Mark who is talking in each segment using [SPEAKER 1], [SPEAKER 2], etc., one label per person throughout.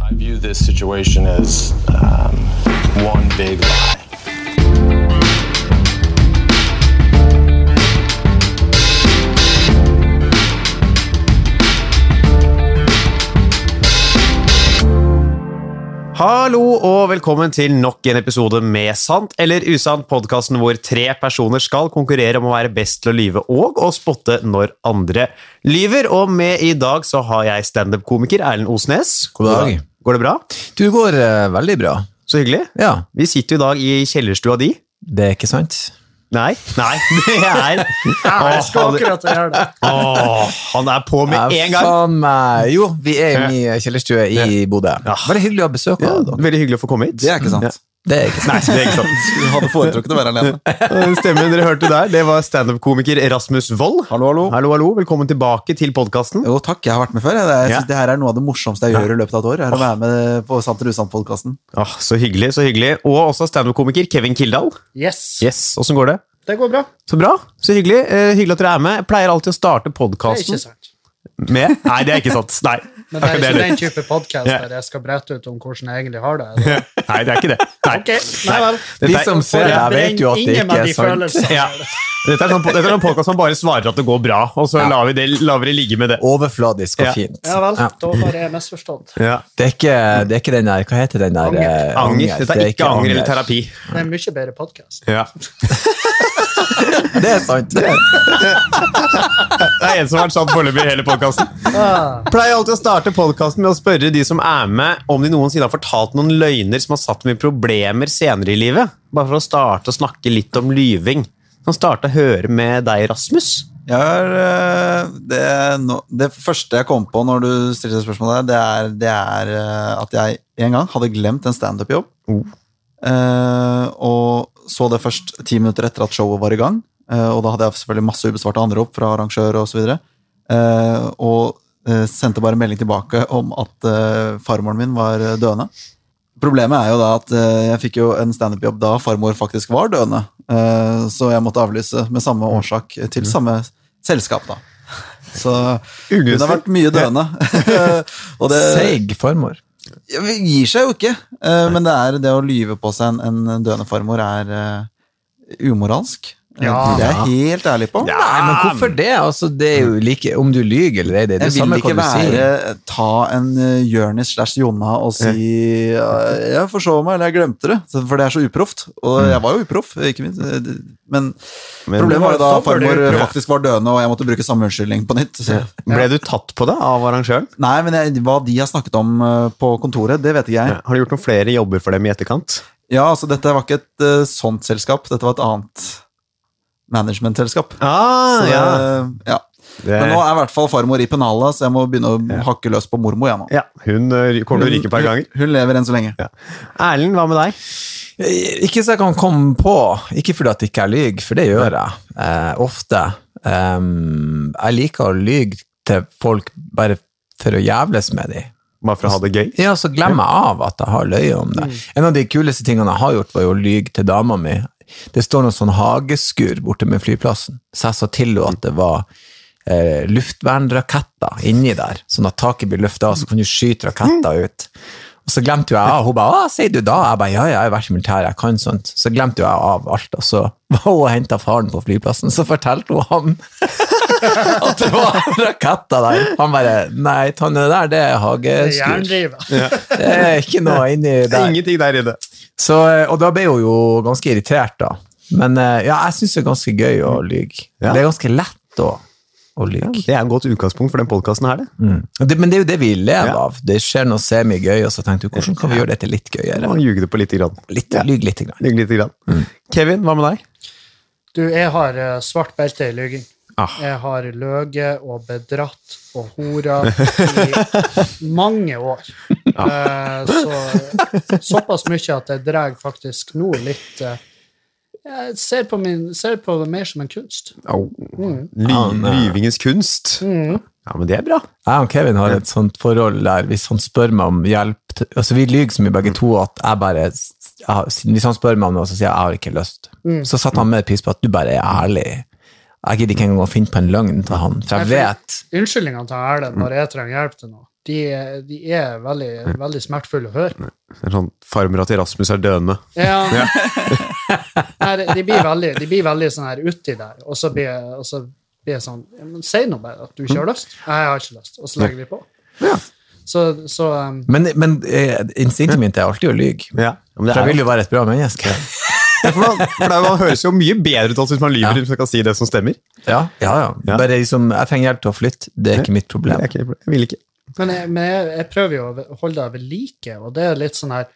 [SPEAKER 1] I view this situation as um, one big lie.
[SPEAKER 2] Hallo og velkommen til nok en episode med Sant eller usant, podkasten hvor tre personer skal konkurrere om å være best til å lyve og å spotte når andre lyver. Og med i dag så har jeg standup-komiker Erlend Osnes.
[SPEAKER 3] God dag.
[SPEAKER 2] Går det bra?
[SPEAKER 3] Du går eh, veldig bra.
[SPEAKER 2] Så hyggelig.
[SPEAKER 3] Ja,
[SPEAKER 2] Vi sitter jo i dag i kjellerstua di.
[SPEAKER 3] det er ikke sant?
[SPEAKER 2] Nei, nei, det er
[SPEAKER 4] Jeg skal
[SPEAKER 2] Åh,
[SPEAKER 4] akkurat gjøre det.
[SPEAKER 2] han, åh, han er på med
[SPEAKER 3] Ja,
[SPEAKER 2] en gang!
[SPEAKER 3] Faen meg. Jo, vi er i min eh, kjellerstue i Bodø.
[SPEAKER 2] Ja.
[SPEAKER 3] Veldig hyggelig å ha besøk
[SPEAKER 2] Ja,
[SPEAKER 3] av dere.
[SPEAKER 2] veldig hyggelig å få komme hit.
[SPEAKER 5] Det er ikke sant.
[SPEAKER 2] Ja.
[SPEAKER 3] Det er ikke sant.
[SPEAKER 2] Nei, det er ikke sant.
[SPEAKER 5] Du hadde foretrukket å være alene.
[SPEAKER 2] Den Eh, Stemmen dere hørte der, det var standup-komiker Rasmus Wold.
[SPEAKER 5] Hallo, hallo.
[SPEAKER 2] Hallo, hallo. Velkommen tilbake til podkasten.
[SPEAKER 5] Jo, takk. Jeg har vært med før. Jeg, jeg
[SPEAKER 2] Ja.
[SPEAKER 5] synes det her er noe av det morsomste jeg gjør i løpet av et år. Er å være med på Sant eller usant-podkasten.
[SPEAKER 2] Åh, Ah, så hyggelig, så hyggelig. Og også standup-komiker Kevin Kildahl.
[SPEAKER 4] Yes,
[SPEAKER 2] Yes, Åssen går det?
[SPEAKER 4] det går bra.
[SPEAKER 2] Så bra. Så hyggelig. Eh, hyggelig at dere er med. Jeg pleier alltid å starte
[SPEAKER 4] Det er ikke
[SPEAKER 2] podkasten
[SPEAKER 4] sant.
[SPEAKER 2] med Nei, det er ikke sant. Nei.
[SPEAKER 4] Men det er
[SPEAKER 2] Akkurat
[SPEAKER 4] ikke
[SPEAKER 2] det.
[SPEAKER 4] den type podkast
[SPEAKER 2] Ja.
[SPEAKER 4] der jeg skal brette ut om hvordan jeg egentlig har det.
[SPEAKER 2] Nei, det er ikke det. Nei.
[SPEAKER 4] Ok, nei vel.
[SPEAKER 2] Dette
[SPEAKER 3] De
[SPEAKER 2] er-
[SPEAKER 3] som ser
[SPEAKER 4] Ja,
[SPEAKER 3] deg, vet jo at det
[SPEAKER 4] ingen
[SPEAKER 3] ikke
[SPEAKER 4] av
[SPEAKER 3] er
[SPEAKER 4] de
[SPEAKER 3] sant.
[SPEAKER 4] følelsene.
[SPEAKER 2] ja. Dette er sånn, dette er en podkast som bare svarer at det går bra, og så lar vi det, lar vi det ligge med det.
[SPEAKER 3] Overfladisk
[SPEAKER 2] Ja.
[SPEAKER 3] og fint.
[SPEAKER 4] Ja vel,
[SPEAKER 3] Ja.
[SPEAKER 4] da har jeg misforstått.
[SPEAKER 2] Ja.
[SPEAKER 3] Det, er ikke, det er ikke den der Hva heter den der? eh,
[SPEAKER 2] Anger. Dette
[SPEAKER 3] Det
[SPEAKER 2] er ikke anger eller terapi.
[SPEAKER 4] Det er mye bedre podkast.
[SPEAKER 2] Ja.
[SPEAKER 3] Det er sant. Det er.
[SPEAKER 2] Det er en som har vært sant foreløpig i hele podkasten.
[SPEAKER 4] Ah,
[SPEAKER 2] Pleier alltid å starte podkasten med å spørre de som er med, om de noensinne har fortalt noen løgner som har satt dem i problemer senere i livet. Bare for å starte å snakke litt om lyving. Kan starte å høre med deg, Rasmus.
[SPEAKER 5] Jeg har, eh, det, nå- det første jeg kom på når du stilte det spørsmålet, det er, det er eh, at jeg en gang hadde glemt en standup-jobb. Eh, og så det først ti minutter etter at showet var i gang. Eh, og da hadde jeg selvfølgelig masse ubesvarte anrop fra arrangør osv. Og, uh, og eh, sendte bare melding tilbake om at eh, farmoren min var eh, døende. Problemet er jo da at eh, jeg fikk jo en standup-jobb da farmor faktisk var døende. Eh, så jeg måtte avlyse med samme årsak til samme selskap, da. Så hun har vært mye døende. og
[SPEAKER 3] Seig formor.
[SPEAKER 5] ja, vi gir seg jo ikke, eh, men det, er, det å lyve på seg en, en døende farmor er eh, umoralsk. Eh,
[SPEAKER 4] Ja.
[SPEAKER 5] Det er jeg helt ærlig på.
[SPEAKER 3] Nei, men hvorfor det? Altså, det er jo like, om du lyver eller ei, det er det
[SPEAKER 5] Jeg vil
[SPEAKER 3] samme hva
[SPEAKER 5] ikke
[SPEAKER 3] du
[SPEAKER 5] være eh,
[SPEAKER 3] sier.
[SPEAKER 5] ta en uh, Jørnis slash Jonna og si eh, 'jeg forsov meg', eller 'jeg glemte det', Så- for det er så uproft. Og jeg var jo uproff, ikke minst. eh, det- Men
[SPEAKER 2] Men-
[SPEAKER 5] problemet var jo da
[SPEAKER 4] Så var det
[SPEAKER 5] farmor
[SPEAKER 4] uproff.
[SPEAKER 5] faktisk var døende, og jeg måtte bruke samme unnskyldning på nytt. Så.
[SPEAKER 2] Ble du tatt på det av arrangøren?
[SPEAKER 5] Nei, men jeg, hva de har snakket om eh, på kontoret, det vet ikke jeg.
[SPEAKER 2] Har du gjort noen flere jobber for dem i etterkant?
[SPEAKER 5] Ja, altså dette var ikke et eh, sånt selskap, dette var et annet managementselskap.
[SPEAKER 2] Ah,
[SPEAKER 5] Så, eh, ja.
[SPEAKER 2] Det,
[SPEAKER 5] Men nå er i hvert fall farmor i pennalet, så jeg må begynne å hakke løs på mormor. Jeg, nå.
[SPEAKER 2] ja. Hun eh, kommer til å ryke et par ganger.
[SPEAKER 5] Hun lever enn så lenge.
[SPEAKER 2] Erlend, hva med deg?
[SPEAKER 3] Eh, Ikke så jeg kan komme på. Ikke fordi at ikke jeg lyver, for det gjør jeg eh, ofte. Ehm, jeg liker å lyge til folk bare for å jævles med dem.
[SPEAKER 2] Bare for å ha det gøy?
[SPEAKER 3] Ja, så glemmer jeg av at jeg har løyet om det. En av de kuleste tingene jeg har gjort, var jo å lyge til dama mi. Det står noen sånn hageskur borte med flyplassen, så jeg sa til henne at det var eh, luftvernraketter inni der, sånn at taket blir løfta av, så kan du skyte raketter ut. Og så glemte jo jeg av. Hun bare 'Hva sier du da?' Jeg bare 'Ja, ja, jeg har vært i militæret, jeg kan sånt'. Så glemte jo jeg av alt, og så var hun og henta faren på flyplassen, så fortalte hun han at det var raketter der. Han bare 'Nei, Tonje, det der, det er hageskur'.
[SPEAKER 4] Jernrivet.
[SPEAKER 3] Det er ikke noe inni der.
[SPEAKER 2] Ingenting der inne.
[SPEAKER 3] Så, eh, og da ble hun jo ganske irritert, da. Men eh, ja, jeg syns det er ganske gøy å lyge.
[SPEAKER 2] Ja.
[SPEAKER 3] Det er ganske lett å, å lyge.
[SPEAKER 2] Det er et godt utgangspunkt for den podkasten her, det.
[SPEAKER 3] Mm. Det, men det er jo det vi lever
[SPEAKER 2] Ja.
[SPEAKER 3] av. Det skjer noe semigøy, og så tenkte du hvordan kan vi gjøre dette litt gøyere?
[SPEAKER 2] Man ljuger det på lite grann.
[SPEAKER 3] Litt,
[SPEAKER 2] Ja.
[SPEAKER 3] Lyg lite grann.
[SPEAKER 2] Ljuger lite grann. Kevin, hva med deg?
[SPEAKER 4] Du, jeg har eh, svart belte i lyging.
[SPEAKER 2] Ah.
[SPEAKER 4] Jeg har løyet og bedratt og hora i mange år. Eh, så, såpass mye at jeg drar faktisk nå litt eh, Jeg ser på, min, ser på det mer som en kunst.
[SPEAKER 2] Ly
[SPEAKER 3] Ah, nei.
[SPEAKER 2] lyvingens kunst. Ja, men det er bra.
[SPEAKER 3] Jeg og Kevin har et sånt forhold der hvis han spør meg om hjelp til- altså Vi lyver så mye begge to at jeg bare jeg, har- Hvis han spør meg om noe, så sier jeg 'jeg har ikke lyst'.
[SPEAKER 2] Mm.
[SPEAKER 3] Så satte han mer pris på at du bare er ærlig. Jeg gidder ikke engang å finne på en løgn til han, for
[SPEAKER 4] Nei,
[SPEAKER 3] jeg
[SPEAKER 4] for-
[SPEAKER 3] vet
[SPEAKER 4] Unnskyldningene til Erlend når jeg trenger hjelp til noe. De, de er veldig, veldig smertefulle å høre.
[SPEAKER 2] Det er sånn Farmora til Rasmus er døende.
[SPEAKER 4] Ja. Nei, de- de blir veldig, de blir veldig sånn her uti der, og så blir, og så blir jeg sånn ja, men Si nå bare at du ikke har lyst. Nei, jeg har ikke lyst. Og så legger vi på. Så, så um,
[SPEAKER 3] Men, men eh, instinktet mitt er alltid å lyge.
[SPEAKER 2] Ja, men det
[SPEAKER 3] For jeg
[SPEAKER 2] er
[SPEAKER 3] vil
[SPEAKER 2] jo
[SPEAKER 3] jo være et bra menneske.
[SPEAKER 2] Ja, for man, for det er- man høres jo mye bedre ut altså, hvis man lyver hvis man kan si det som stemmer.
[SPEAKER 3] Ja, ja.
[SPEAKER 2] Ja.
[SPEAKER 3] Bare liksom, jeg trenger hjelp til å flytte. Det er ikke mitt problem.
[SPEAKER 2] Jeg, jeg vil ikke.
[SPEAKER 4] Men, jeg, men jeg, jeg prøver jo å holde deg ved like, og det er litt sånn her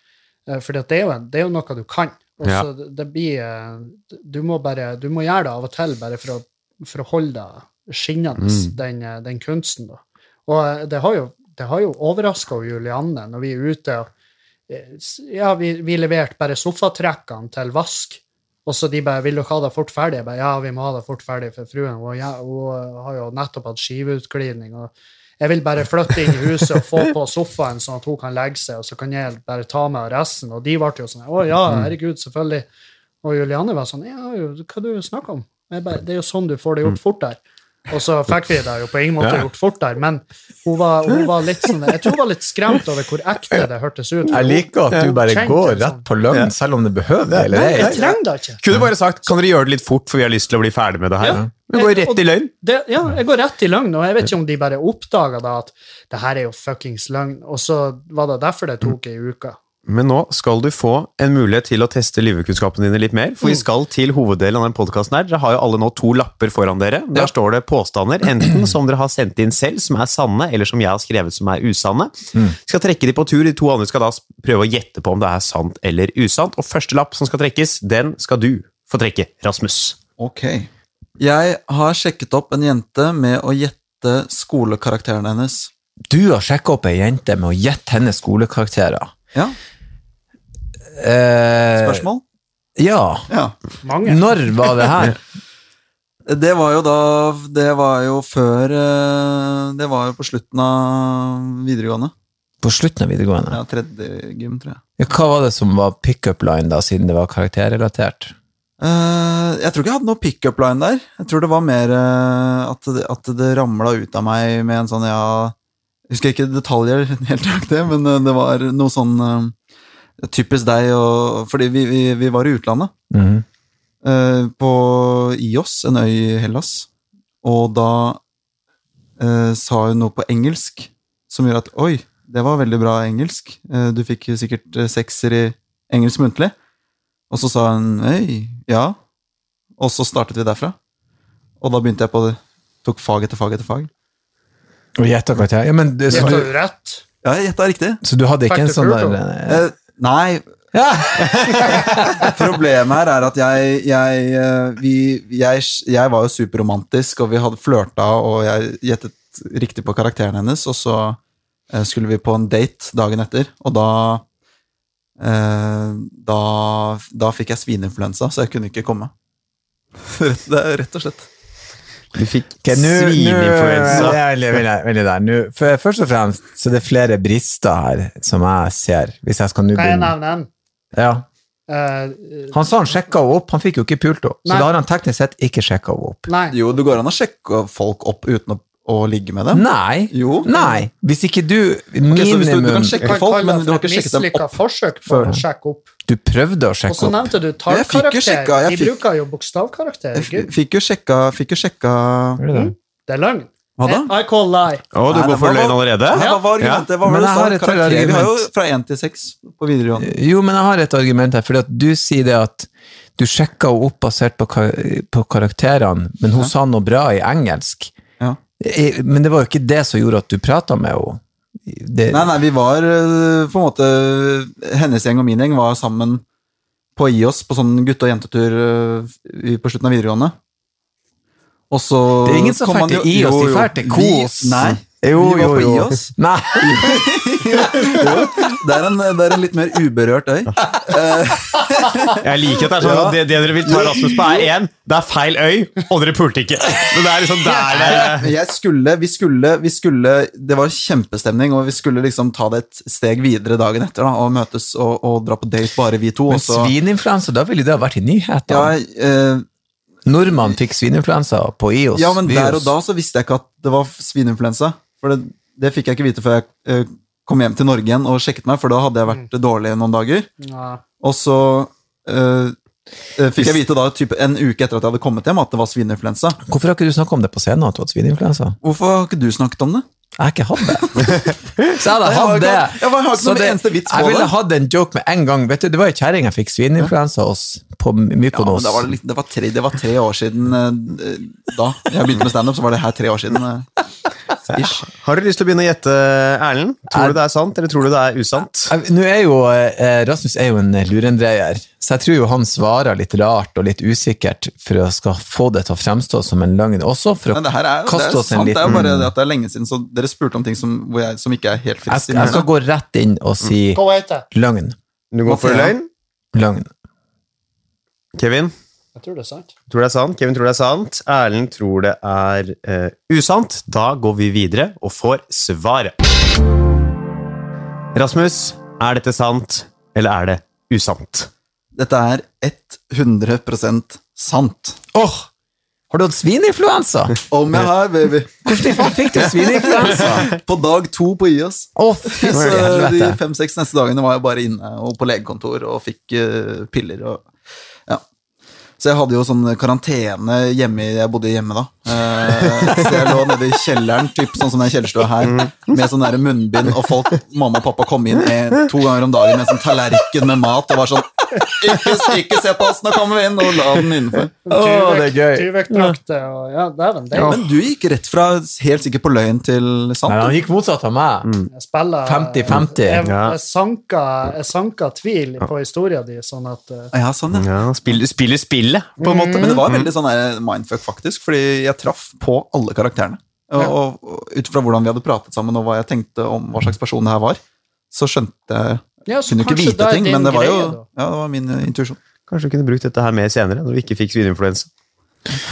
[SPEAKER 4] For det, er jo en- det er jo noe du kan. Og
[SPEAKER 2] Ja.
[SPEAKER 4] så det- det blir eh, Du må bare Du må gjøre det av og til bare for å, for å holde deg skinnende, den, eh, den kunsten, da. Og eh, det har jo, det har jo overraska Julianne når vi er ute og eh, s- Ja, vi, vi leverte bare sofatrekkene til vask. Og så de bare 'Vil dere ha det fort ferdig?' Jeg bare 'Ja, vi må ha det fort ferdig', for fruen hun, ja, hun har jo nettopp hatt skiveutglidning. og jeg vil bare flytte inn i huset og få på sofaen, sånn at hun kan legge seg, og så kan jeg bare ta meg av resten. Og de ble jo sånn Å ja,
[SPEAKER 3] Mm.
[SPEAKER 4] herregud, selvfølgelig. Og Julianne var sånn Ja, jo, hva du snakker om? Jeg bare, det er jo sånn du får det
[SPEAKER 3] Mm.
[SPEAKER 4] gjort fort der. Og så fikk vi det jo på ingen måte gjort fort der, men hun var, hun var litt sånn Jeg tror hun var litt skremt over hvor ekte det hørtes ut.
[SPEAKER 3] Jeg liker at du bare
[SPEAKER 4] Kjent
[SPEAKER 5] altså.
[SPEAKER 3] går
[SPEAKER 4] en sånn.
[SPEAKER 3] rett på løgn, selv om det behøver det. Eller
[SPEAKER 4] Jeg
[SPEAKER 3] ei.
[SPEAKER 4] trenger det ikke.
[SPEAKER 2] Kunne du bare sagt 'Kan dere gjøre det litt fort, for vi har lyst til å bli ferdig med det her'?
[SPEAKER 4] Ja.
[SPEAKER 2] Men går rett i løgn.
[SPEAKER 4] det, ja, jeg går rett i løgn, og jeg vet ikke om de bare oppdaga da at det her er jo fuckings løgn, og så var det derfor det tok ei uke.
[SPEAKER 2] Men nå skal du få en mulighet til å teste lyvekunnskapene dine litt mer. For vi skal til hoveddelen av den podkasten her. Dere har jo alle nå to lapper foran dere. Der står det påstander, enten som dere har sendt inn selv, som er sanne, eller som jeg har skrevet, som er usanne. Vi skal trekke de på tur. De to andre skal da s- prøve å gjette på om det er sant eller usant. Og første lapp som skal trekkes, den skal du få trekke, Rasmus.
[SPEAKER 5] Ok. Jeg har sjekket opp en jente med å gjette skolekarakteren hennes.
[SPEAKER 3] Du har sjekka opp ei jente med å gjette hennes skolekarakterer.
[SPEAKER 5] Ja,
[SPEAKER 3] Eh,
[SPEAKER 5] spørsmål?
[SPEAKER 3] ja.
[SPEAKER 5] Eh, Ja.
[SPEAKER 4] Mange.
[SPEAKER 3] Når var det her?
[SPEAKER 5] Det var jo da Det var jo før eh, Det var jo på slutten av videregående.
[SPEAKER 3] På slutten av videregående.
[SPEAKER 5] Ja, tredje gym, tror jeg.
[SPEAKER 3] Ja, Hva var det som var pickup line, da, siden det var karakterrelatert?
[SPEAKER 5] Eh, jeg tror ikke jeg hadde noe pickup line der. Jeg tror det var mer eh, at det, at det ramla ut av meg med en sånn ja Jeg husker ikke detaljer helt nøyaktig, men eh, det var noe sånn eh, Typisk deg og Fordi vi, vi, vi var i utlandet.
[SPEAKER 3] Mhm.
[SPEAKER 5] eh, på Ios, en øy i Hellas. Og da eh, sa hun noe på engelsk som gjorde at Oi, det var veldig bra engelsk. Eh, du fikk sikkert eh, sekser i engelsk muntlig. Og så sa hun Hei, ja. Og så startet vi derfra. Og da begynte jeg på det. Tok fag etter fag etter fag.
[SPEAKER 3] Og gjette karakter? Ja, men, det- så,
[SPEAKER 4] Gjetta
[SPEAKER 3] du,
[SPEAKER 4] du rett?
[SPEAKER 5] Ja, jeg gjetta riktig.
[SPEAKER 3] så du hadde ikke en
[SPEAKER 4] Fakta
[SPEAKER 3] sånn
[SPEAKER 4] Pluto.
[SPEAKER 3] der eh,
[SPEAKER 5] Eh, nei. Problemet her er at jeg jeg, eh, vi, jeg jeg var jo superromantisk, og vi hadde flørta, og jeg gjettet riktig på karakteren hennes, og så eh, skulle vi på en date dagen etter, og da eh, da, da fikk jeg svineinfluensa, så jeg kunne ikke komme. Rett, det er rett og slett.
[SPEAKER 2] Du fikk
[SPEAKER 3] Ok, nå- nå-
[SPEAKER 2] svineinfluensa.
[SPEAKER 3] Ja, veldig, veldig, veldig der. Nå- for- Først og fremst så det er flere brister her som jeg ser, hvis jeg skal nå
[SPEAKER 4] Kan jeg
[SPEAKER 3] begynne.
[SPEAKER 4] nevne en?
[SPEAKER 3] Ja.
[SPEAKER 4] Eh,
[SPEAKER 3] Han sa han sjekka henne opp, han fikk jo ikke pult henne. Så
[SPEAKER 4] Nei.
[SPEAKER 3] da har han teknisk sett ikke sjekka henne opp.
[SPEAKER 4] nei.
[SPEAKER 5] Jo, det går an å sjekke folk opp uten å, å ligge med dem.
[SPEAKER 3] Nei!
[SPEAKER 5] Jo.
[SPEAKER 3] Nei! Hvis ikke du
[SPEAKER 5] Ok, så hvis du, du
[SPEAKER 3] Minimum
[SPEAKER 5] kan sjekke
[SPEAKER 4] Kan
[SPEAKER 5] folk,
[SPEAKER 4] kalle
[SPEAKER 5] men
[SPEAKER 4] det
[SPEAKER 5] du
[SPEAKER 4] for
[SPEAKER 5] har
[SPEAKER 4] et
[SPEAKER 5] ikke sjekket dem
[SPEAKER 4] mislykka
[SPEAKER 5] opp.
[SPEAKER 4] forsøk på
[SPEAKER 3] før.
[SPEAKER 4] å sjekke opp.
[SPEAKER 3] Du prøvde
[SPEAKER 4] Og
[SPEAKER 3] å
[SPEAKER 4] så
[SPEAKER 3] sjekke opp.
[SPEAKER 4] nevnte du
[SPEAKER 5] Jeg fikk jo
[SPEAKER 4] tallkarakter.
[SPEAKER 5] sjekka, jeg
[SPEAKER 4] De
[SPEAKER 5] fikk-
[SPEAKER 4] bruker jo
[SPEAKER 5] Jeg
[SPEAKER 4] bokstavkarakterer.
[SPEAKER 5] f-
[SPEAKER 4] Gud,
[SPEAKER 5] fikk jo sjekka, fikk jo sjekka
[SPEAKER 3] Gjorde du det?
[SPEAKER 4] Det er løgn. Eh,
[SPEAKER 5] Hva
[SPEAKER 3] Eh,
[SPEAKER 5] da?
[SPEAKER 4] I call lie.
[SPEAKER 2] Å, du
[SPEAKER 5] Nei,
[SPEAKER 2] går
[SPEAKER 5] det
[SPEAKER 2] for
[SPEAKER 5] var-
[SPEAKER 2] løgn allerede?
[SPEAKER 5] Nei, Hva var argumentet? Hva var
[SPEAKER 3] Men
[SPEAKER 5] det
[SPEAKER 3] jeg
[SPEAKER 5] du sa?
[SPEAKER 3] har et
[SPEAKER 5] Karakter? Vi har jo
[SPEAKER 3] argument.
[SPEAKER 5] fra 1 til 6 på videregående.
[SPEAKER 3] Jo, men jeg har et argument her, fordi at du sier det at du sjekka henne opp basert på, kar på karakterene, men hun sa noe bra i engelsk.
[SPEAKER 5] Ja.
[SPEAKER 3] Eh, Men det var jo ikke det som gjorde at du prata med henne. Det,
[SPEAKER 5] Nei, nei, vi var øh, på en måte Hennes gjeng og min gjeng var sammen på IOS på sånn gutte- og jentetur øh, i- på slutten av videregående. Og så
[SPEAKER 3] det er ingen som
[SPEAKER 5] kom
[SPEAKER 3] drar
[SPEAKER 5] man
[SPEAKER 3] til
[SPEAKER 5] jo-
[SPEAKER 3] IOS,
[SPEAKER 5] jo,
[SPEAKER 3] de
[SPEAKER 5] jo.
[SPEAKER 3] drar til
[SPEAKER 5] Vi-
[SPEAKER 3] KOS.
[SPEAKER 5] Nei,
[SPEAKER 3] jo,
[SPEAKER 5] vi var
[SPEAKER 3] jo,
[SPEAKER 5] på
[SPEAKER 3] jo.
[SPEAKER 5] IOS.
[SPEAKER 3] Nei,
[SPEAKER 5] Det er, en, det er en litt mer uberørt øy.
[SPEAKER 2] Jeg liker at det er sånn at det, det dere vil ta Rasmus på, er én. Det er feil øy, og dere pulte ikke. Så det er liksom der det
[SPEAKER 5] Men jeg skulle, vi skulle, vi skulle Det var kjempestemning, og vi skulle liksom ta det et steg videre dagen etter da, og møtes og, og dra på date, bare vi to.
[SPEAKER 3] men
[SPEAKER 5] og så-
[SPEAKER 3] svininfluensa, da ville det ha vært i
[SPEAKER 5] ja,
[SPEAKER 3] nyhetene.
[SPEAKER 5] eh,
[SPEAKER 3] Nordmannen fikk svininfluensa på IOS.
[SPEAKER 5] ja, men der og
[SPEAKER 3] virus.
[SPEAKER 5] da så visste jeg ikke at det var svineinfluensa. For det, Det fikk jeg ikke vite før jeg eh, kom hjem til Norge igjen og sjekket meg, for da hadde jeg
[SPEAKER 3] Mm.
[SPEAKER 5] vært dårlig noen dager.
[SPEAKER 4] Ja.
[SPEAKER 5] Og så eh, eh, fikk jeg vite da typ en uke etter at jeg hadde kommet hjem, at det var svineinfluensa.
[SPEAKER 3] Hvorfor har ikke du snakket om det på scenen? at du har hatt svineinfluensa?
[SPEAKER 5] Hvorfor har ikke du snakket om det?
[SPEAKER 3] Jeg har ikke hatt det. Så
[SPEAKER 5] Jeg
[SPEAKER 3] jeg hadde
[SPEAKER 5] har
[SPEAKER 3] hatt
[SPEAKER 5] ikke-
[SPEAKER 3] det.
[SPEAKER 5] jeg har ikke
[SPEAKER 3] Så
[SPEAKER 5] noen Altså, eneste vits på
[SPEAKER 3] Jeg ville
[SPEAKER 5] det.
[SPEAKER 3] hatt en joke med en gang. Vet du, Det var ei kjerring jeg fikk svineinfluensa hos på
[SPEAKER 5] Ja, men
[SPEAKER 3] Mykonos.
[SPEAKER 5] det, var litt, det, var tre, det var tre år siden eh, da jeg begynte med standup, så var det her tre år siden. eh, ish.
[SPEAKER 2] Har du lyst til å begynne å gjette, Erlend? Tror du det er sant, eller tror du det er usant?
[SPEAKER 3] Jeg- Nå er jo, eh, Rasmus er jo en lurendreier, så jeg tror jo han svarer litt rart og litt usikkert for å skal få det til å fremstå som en løgn, også for å
[SPEAKER 5] Men det her er, det
[SPEAKER 3] kaste
[SPEAKER 5] er
[SPEAKER 3] oss en
[SPEAKER 5] sant, det er jo
[SPEAKER 3] liten
[SPEAKER 5] bare det at det er lenge siden, så dere spurte om ting som, hvor jeg, som ikke er helt
[SPEAKER 3] jeg, skal- jeg skal
[SPEAKER 5] fristimulerende.
[SPEAKER 3] gå rett inn og si
[SPEAKER 5] Mm.
[SPEAKER 4] Hva heter det?
[SPEAKER 3] løgn.
[SPEAKER 2] Du går for
[SPEAKER 5] Mathea.
[SPEAKER 2] løgn?
[SPEAKER 3] Løgn.
[SPEAKER 2] Kevin?
[SPEAKER 4] Jeg tror det er sant.
[SPEAKER 2] Tror det er sant. Kevin tror det er sant. Erlend tror det er eh, usant. Da går vi videre og får svaret. Rasmus, er dette sant, eller er det usant?
[SPEAKER 5] Dette er 100 sant.
[SPEAKER 3] Åh! har du hatt svineinfluensa?
[SPEAKER 5] Om jeg har, baby.
[SPEAKER 3] Hvordan i faen fikk du svineinfluensa?
[SPEAKER 5] På dag to på IOS.
[SPEAKER 3] Å, fy
[SPEAKER 5] Så de
[SPEAKER 3] helvete.
[SPEAKER 5] fem-seks neste dagene var jeg bare inne og på legekontor og fikk eh, piller og Ja. Så jeg hadde jo sånn karantene hjemme i- Jeg bodde hjemme da. Eh, så jeg lå nede i kjelleren, typ, sånn som den kjellerstua her, med sånn der munnbind, og folk, mamma og pappa kom inn eh, to ganger om dagen med sånn tallerken med mat og var sånn Ikke, ikke se på oss, nå kommer vi inn! Og la den innenfor.
[SPEAKER 3] Åh, det er gøy.
[SPEAKER 4] Tyvektdrakte og Ja, dæven, det
[SPEAKER 5] Men du gikk rett fra helt sikkert på løgn til sant.
[SPEAKER 3] Nei, han
[SPEAKER 5] du.
[SPEAKER 3] gikk motsatt av meg.
[SPEAKER 5] Mm.
[SPEAKER 4] Jeg spiller eh,
[SPEAKER 3] 50-50.
[SPEAKER 4] Jeg,
[SPEAKER 2] Ja.
[SPEAKER 4] jeg, sanka, jeg sanka tvil på historia di, sånn at eh,
[SPEAKER 5] Ja, sånn, ja.
[SPEAKER 2] Ja, spiller spillet, på en måte.
[SPEAKER 5] Men det var veldig sånn der mindfuck, faktisk, fordi jeg traff på alle karakterene. Og, og, og ut fra hvordan vi hadde pratet sammen, og hva jeg tenkte om hva slags person det her var, så skjønte jeg
[SPEAKER 4] ja, så
[SPEAKER 5] Kunne jo ikke
[SPEAKER 4] kanskje
[SPEAKER 5] vite
[SPEAKER 4] det er
[SPEAKER 5] ting,
[SPEAKER 4] din
[SPEAKER 5] men det var jo
[SPEAKER 4] greie, da.
[SPEAKER 5] ja, det var min eh, intuisjon.
[SPEAKER 2] Kanskje du kunne brukt dette her mer senere, når vi ikke fikk svineinfluensa.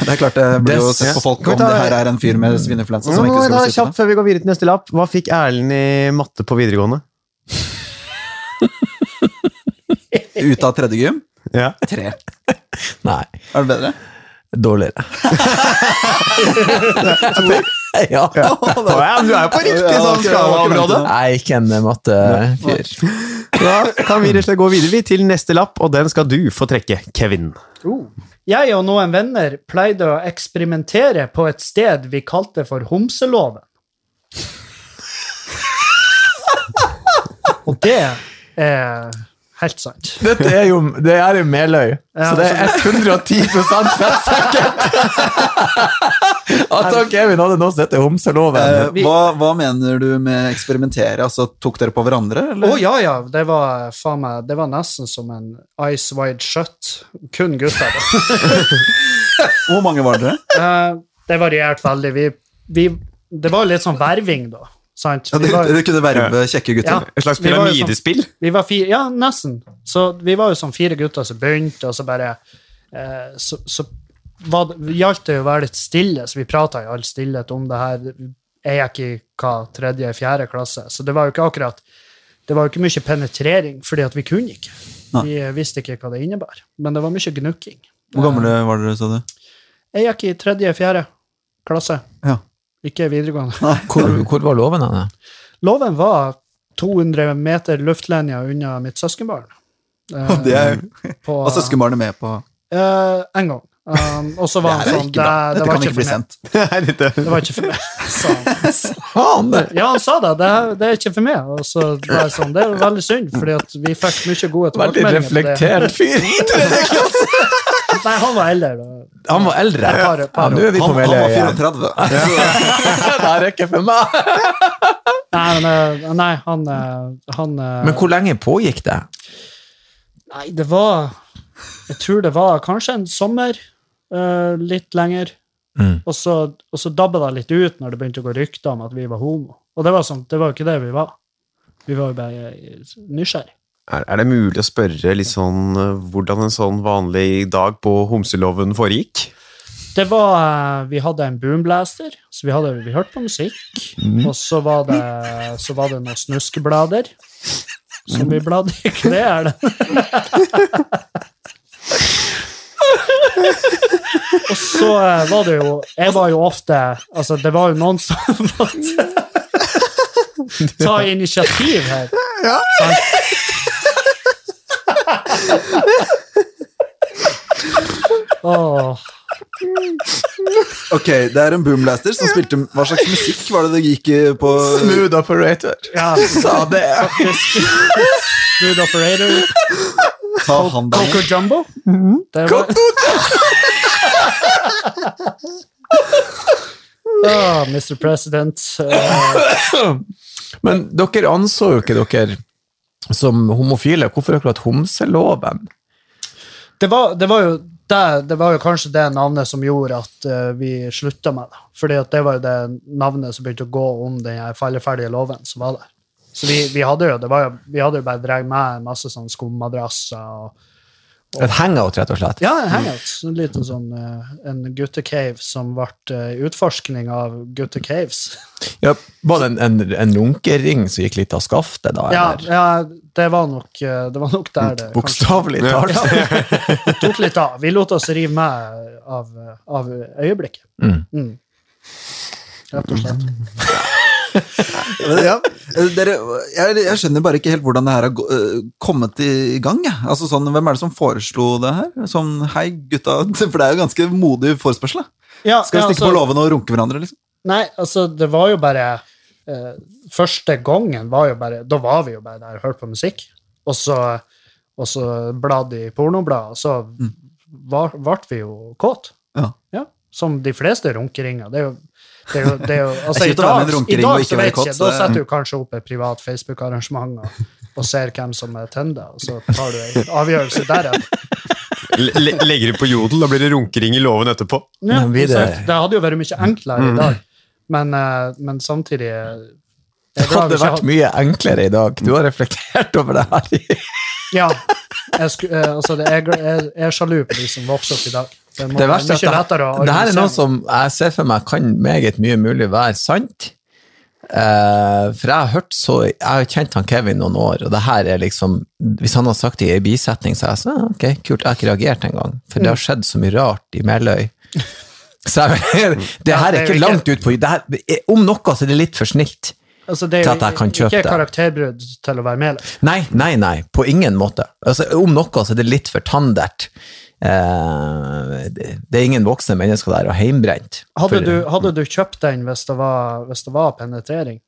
[SPEAKER 5] Det er klart eh, jeg burde jo
[SPEAKER 3] Det-
[SPEAKER 5] sett på folk
[SPEAKER 2] Kan
[SPEAKER 5] om
[SPEAKER 2] vi ta-
[SPEAKER 5] det her er en fyr med svineinfluensa som ikke skulle sitte
[SPEAKER 2] Kjapt før vi går videre til neste lapp. Hva fikk Erlend i matte på videregående?
[SPEAKER 5] der. Ute av tredje gym.
[SPEAKER 2] Ja.
[SPEAKER 5] Tre.
[SPEAKER 3] Nei,
[SPEAKER 5] Er det bedre?
[SPEAKER 3] dårligere. ja.
[SPEAKER 2] du er jo på riktig sånn
[SPEAKER 5] Ja, ok, det var ikke
[SPEAKER 2] skalaområde!
[SPEAKER 3] Nei, ikke en eh, mattefyr.
[SPEAKER 2] Da kan vi rett og slett gå videre vi, til neste lapp, og den skal du få trekke, Kevin.
[SPEAKER 4] Oh. Jeg og noen venner pleide å eksperimentere på et sted vi kalte for Homseloven. Og det er helt sant.
[SPEAKER 3] Dette er jo, det er jo Meløy, så
[SPEAKER 4] Ja,
[SPEAKER 3] det er
[SPEAKER 5] altså.
[SPEAKER 3] 110 fett sikkert! At han Kevin hadde nå sett det homseloven.
[SPEAKER 5] Eh, hva, hva mener du med eksperimentere? Altså, tok dere på hverandre,
[SPEAKER 4] Å
[SPEAKER 5] eller?
[SPEAKER 4] ja, ja. Det var, faen meg, det var nesten som en Ice Wide Shut. Kun gutter, da.
[SPEAKER 5] Hvor mange var dere?
[SPEAKER 4] Eh, det varierte veldig. Vi, vi, det var litt sånn verving, da. Sant?
[SPEAKER 5] Ja,
[SPEAKER 4] Vi
[SPEAKER 5] dere,
[SPEAKER 4] var,
[SPEAKER 5] dere kunne verve kjekke
[SPEAKER 4] ja,
[SPEAKER 5] gutter.
[SPEAKER 2] Et slags
[SPEAKER 4] Vi var jo sånn-
[SPEAKER 2] pyramidespill?
[SPEAKER 4] Vi var fire, ja, nesten. Så vi var jo sånn fire gutter som begynte, og så bare eh, Så, så var det, gjaldt det jo å være litt stille, så vi prata i all stillhet om det her. Jeg gikk i hva, tredje, fjerde klasse, så det var jo ikke akkurat det var jo ikke mye penetrering, fordi at vi kunne ikke. Vi eh, visste ikke hva det innebar. Men det var mye gnukking.
[SPEAKER 5] Hvor gamle var dere, sa du?
[SPEAKER 4] Jeg gikk i tredje, fjerde klasse,
[SPEAKER 5] Ja.
[SPEAKER 4] ikke videregående.
[SPEAKER 3] Hvor, hvor var låven henne?
[SPEAKER 4] Loven var 200 meter luftlinja unna mitt søskenbarn. Eh,
[SPEAKER 5] Det er, altså
[SPEAKER 4] på-
[SPEAKER 5] var søskenbarnet med på
[SPEAKER 4] Eh, en gang. Um, og så var han
[SPEAKER 5] Det er jo
[SPEAKER 4] sånn
[SPEAKER 5] ikke
[SPEAKER 4] Det,
[SPEAKER 5] bra.
[SPEAKER 4] det,
[SPEAKER 5] Dette
[SPEAKER 4] var
[SPEAKER 5] kan
[SPEAKER 4] ikke
[SPEAKER 5] ikke
[SPEAKER 4] for
[SPEAKER 5] bli
[SPEAKER 4] meg.
[SPEAKER 5] sendt.
[SPEAKER 4] Det var ikke for meg. sa han.
[SPEAKER 3] Faen! det-
[SPEAKER 4] Ja, han sa det. Det, det er ikke for meg. Og så var jeg sånn, det er jo veldig synd, fordi at vi fikk mye gode
[SPEAKER 3] Veldig
[SPEAKER 4] tilbakemeldinger. på det.
[SPEAKER 3] reflektert fyr.
[SPEAKER 4] Nei, han var eldre. da.
[SPEAKER 3] Han var eldre.
[SPEAKER 4] Et par-
[SPEAKER 3] Ja,
[SPEAKER 4] par
[SPEAKER 3] nå
[SPEAKER 4] år.
[SPEAKER 3] er vi på
[SPEAKER 5] Han, han
[SPEAKER 3] Meløy
[SPEAKER 5] var
[SPEAKER 3] igjen.
[SPEAKER 5] 34.
[SPEAKER 3] Det her er ikke for meg.
[SPEAKER 4] Nei, men, eh, nei, han, eh, han eh,
[SPEAKER 3] Men hvor lenge pågikk det?
[SPEAKER 4] Nei, det var Jeg tror det var kanskje en sommer. eh, litt lenger.
[SPEAKER 3] Mm.
[SPEAKER 4] Og så, og så dabba det litt ut når det begynte å gå rykter om at vi var homo. Og det var sånn, det var jo ikke det vi var. Vi var jo bare eh, nysgjerrig.
[SPEAKER 2] Er, er det mulig å spørre litt sånn eh, hvordan en sånn vanlig dag på homseloven foregikk?
[SPEAKER 4] Det var, eh, Vi hadde en boomblaster, så vi, hadde, vi hørte på musikk. Og så var det, så var det noen snuskeblader som vi bladde i. Det er det. Og så eh, var det jo Jeg var jo ofte Altså, det var jo noen som ta initiativ her. Sant? Åh.
[SPEAKER 5] Ok, det er en boomblaster som spilte Hva slags musikk var det det gikk i på
[SPEAKER 3] Smooth operator.
[SPEAKER 4] Ja,
[SPEAKER 3] Sa det.
[SPEAKER 4] Smooth Operator,
[SPEAKER 5] Ta han der.
[SPEAKER 4] Coco Jumbo. Det var- Åh, Mr. Ah, President. Eh,
[SPEAKER 3] Men dere anså jo ikke dere som homofile. Hvorfor akkurat homseloven?
[SPEAKER 4] det, var, det, var jo det, det var jo kanskje det navnet som gjorde at eh, vi slutta med det. Fordi at det var jo det navnet som begynte å gå om den her falleferdige loven som var der. Så vi, vi hadde jo det var jo, vi hadde jo bare dratt med en masse sånn skummadrasser og
[SPEAKER 3] Et hangout, rett og slett.
[SPEAKER 4] Ja, en hangout. En liten sånn eh, en guttecave som ble eh, utforskning av guttecaves.
[SPEAKER 3] Ja, var det en, en, en runkering som gikk litt av skaftet, da?
[SPEAKER 4] Ja,
[SPEAKER 3] eller?
[SPEAKER 4] ja, det var nok eh, det var nok der det kanskje
[SPEAKER 3] Bokstavelig talt.
[SPEAKER 4] tok litt av. Vi lot oss rive med av, av øyeblikket.
[SPEAKER 3] Mm.
[SPEAKER 4] Rett
[SPEAKER 5] Mm.
[SPEAKER 4] og slett.
[SPEAKER 5] Ja. Dere, jeg, jeg skjønner bare ikke helt hvordan det her har gå- øh, kommet i gang. Jeg. Altså sånn, Hvem er det som foreslo det her? Sånn, hei gutta, For det er jo ganske modig forespørsel. da.
[SPEAKER 4] Ja,
[SPEAKER 5] Skal vi
[SPEAKER 4] ja,
[SPEAKER 5] stikke på
[SPEAKER 4] altså-
[SPEAKER 5] låven og runke hverandre, liksom?
[SPEAKER 4] Nei, altså, det var jo bare eh, Første gangen var jo bare Da var vi jo bare der og hørte på musikk, og så, og så bladde i pornoblad, og så var- ble vi jo kåt.
[SPEAKER 5] Mm. Ja.
[SPEAKER 4] Som de fleste runkeringer. Det er jo det er jo, det er jo,
[SPEAKER 5] Det er
[SPEAKER 4] altså, I
[SPEAKER 5] kjipt å være med en
[SPEAKER 4] dag, i
[SPEAKER 5] runkering og
[SPEAKER 4] dag
[SPEAKER 5] ikke
[SPEAKER 4] så
[SPEAKER 5] være
[SPEAKER 4] vet
[SPEAKER 5] kåt,
[SPEAKER 4] ikke,
[SPEAKER 5] så
[SPEAKER 4] da
[SPEAKER 5] det-
[SPEAKER 4] setter du kanskje opp et privat Facebook-arrangement og, og ser hvem som er tenda, og så tar du en avgjørelse deretter.
[SPEAKER 2] Le- le- Legger du på jodel, da blir det runkering i låven etterpå.
[SPEAKER 4] Ja,
[SPEAKER 3] Men Mm. blir det-
[SPEAKER 4] sant. det hadde jo vært mye enklere i dag, men, eh, men samtidig Det
[SPEAKER 3] Det hadde vært mye enklere i dag. Du har reflektert over det her.
[SPEAKER 4] Ja. Jeg, sku, eh, altså, det, jeg, jeg, jeg er sjalu på de som vokser opp i dag. Det, må,
[SPEAKER 3] Det verste
[SPEAKER 4] mye
[SPEAKER 3] er at det,
[SPEAKER 4] lettere å
[SPEAKER 3] det her er
[SPEAKER 4] organisere.
[SPEAKER 3] noe som jeg ser for meg kan meget mye mulig være sant. Eh, for jeg har hørt så Jeg har kjent han Kevin noen år, og det her er liksom Hvis han har sagt det i en bisetning, så er jeg sånn ah, Ok, kult, jeg har ikke reagert engang. For
[SPEAKER 4] Mm.
[SPEAKER 3] det har skjedd så mye rart i Meløy. Så jeg, det her er
[SPEAKER 4] det er
[SPEAKER 3] ikke
[SPEAKER 4] jo
[SPEAKER 3] langt ut på det her, eh, Om noe så er det litt for snilt.
[SPEAKER 4] altså, det er
[SPEAKER 3] til
[SPEAKER 4] jo
[SPEAKER 3] at jeg kan kjøpe
[SPEAKER 4] ikke
[SPEAKER 3] det.
[SPEAKER 4] karakterbrudd til å være med. eller?
[SPEAKER 3] Nei, nei, nei, på ingen måte. Altså, om noe så er det litt for tandert. Eh, det, det er ingen voksne mennesker der, og heimbrent.
[SPEAKER 4] Hadde
[SPEAKER 3] For-
[SPEAKER 4] du, hadde du kjøpt den hvis det var, hvis det var penetrering?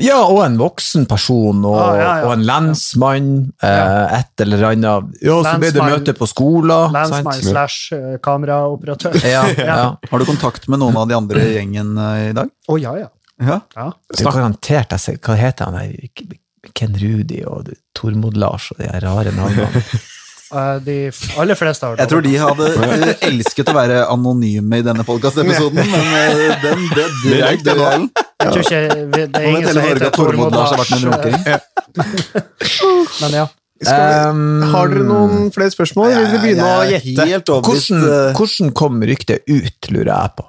[SPEAKER 3] Ja, og en voksen person, og,
[SPEAKER 4] Ah, ja, ja.
[SPEAKER 3] og en lensmann, eh, et eller annet. Ja, så ble det
[SPEAKER 4] Lensmann-
[SPEAKER 3] møte på skolen.
[SPEAKER 4] Landsmann
[SPEAKER 3] sant?
[SPEAKER 4] slash eh, kameraoperatør? Å,
[SPEAKER 3] Ja, ja.
[SPEAKER 5] Har du kontakt med noen av de andre i gjengen eh, i dag?
[SPEAKER 4] ja, ja.
[SPEAKER 5] Ja.
[SPEAKER 4] ja.
[SPEAKER 3] Det er garantert, jeg ser, hva heter han? der? Ken Rudi og Tormod Lars og de her rare navnene.
[SPEAKER 4] Eh, De f- aller fleste har
[SPEAKER 5] Jeg tror de hadde eh, elsket å være anonyme i denne podkastepisoden, men eh, den, den, den,
[SPEAKER 2] Det er ikke
[SPEAKER 5] den, den,
[SPEAKER 4] Jeg tror ikke vi- det er
[SPEAKER 5] Om
[SPEAKER 4] ingen
[SPEAKER 5] et
[SPEAKER 4] som
[SPEAKER 5] hele Norge
[SPEAKER 4] heter
[SPEAKER 5] har Tormod Lars har vært med i en
[SPEAKER 4] eh,
[SPEAKER 5] runkering.
[SPEAKER 4] Men ja.
[SPEAKER 3] Um,
[SPEAKER 2] Har dere noen flere spørsmål? Vil dere begynne å
[SPEAKER 5] Jeg er
[SPEAKER 2] gjette?
[SPEAKER 5] Helt overbevist.
[SPEAKER 3] hvordan,
[SPEAKER 5] eh,
[SPEAKER 3] hvordan kom ryktet ut, lurer jeg på.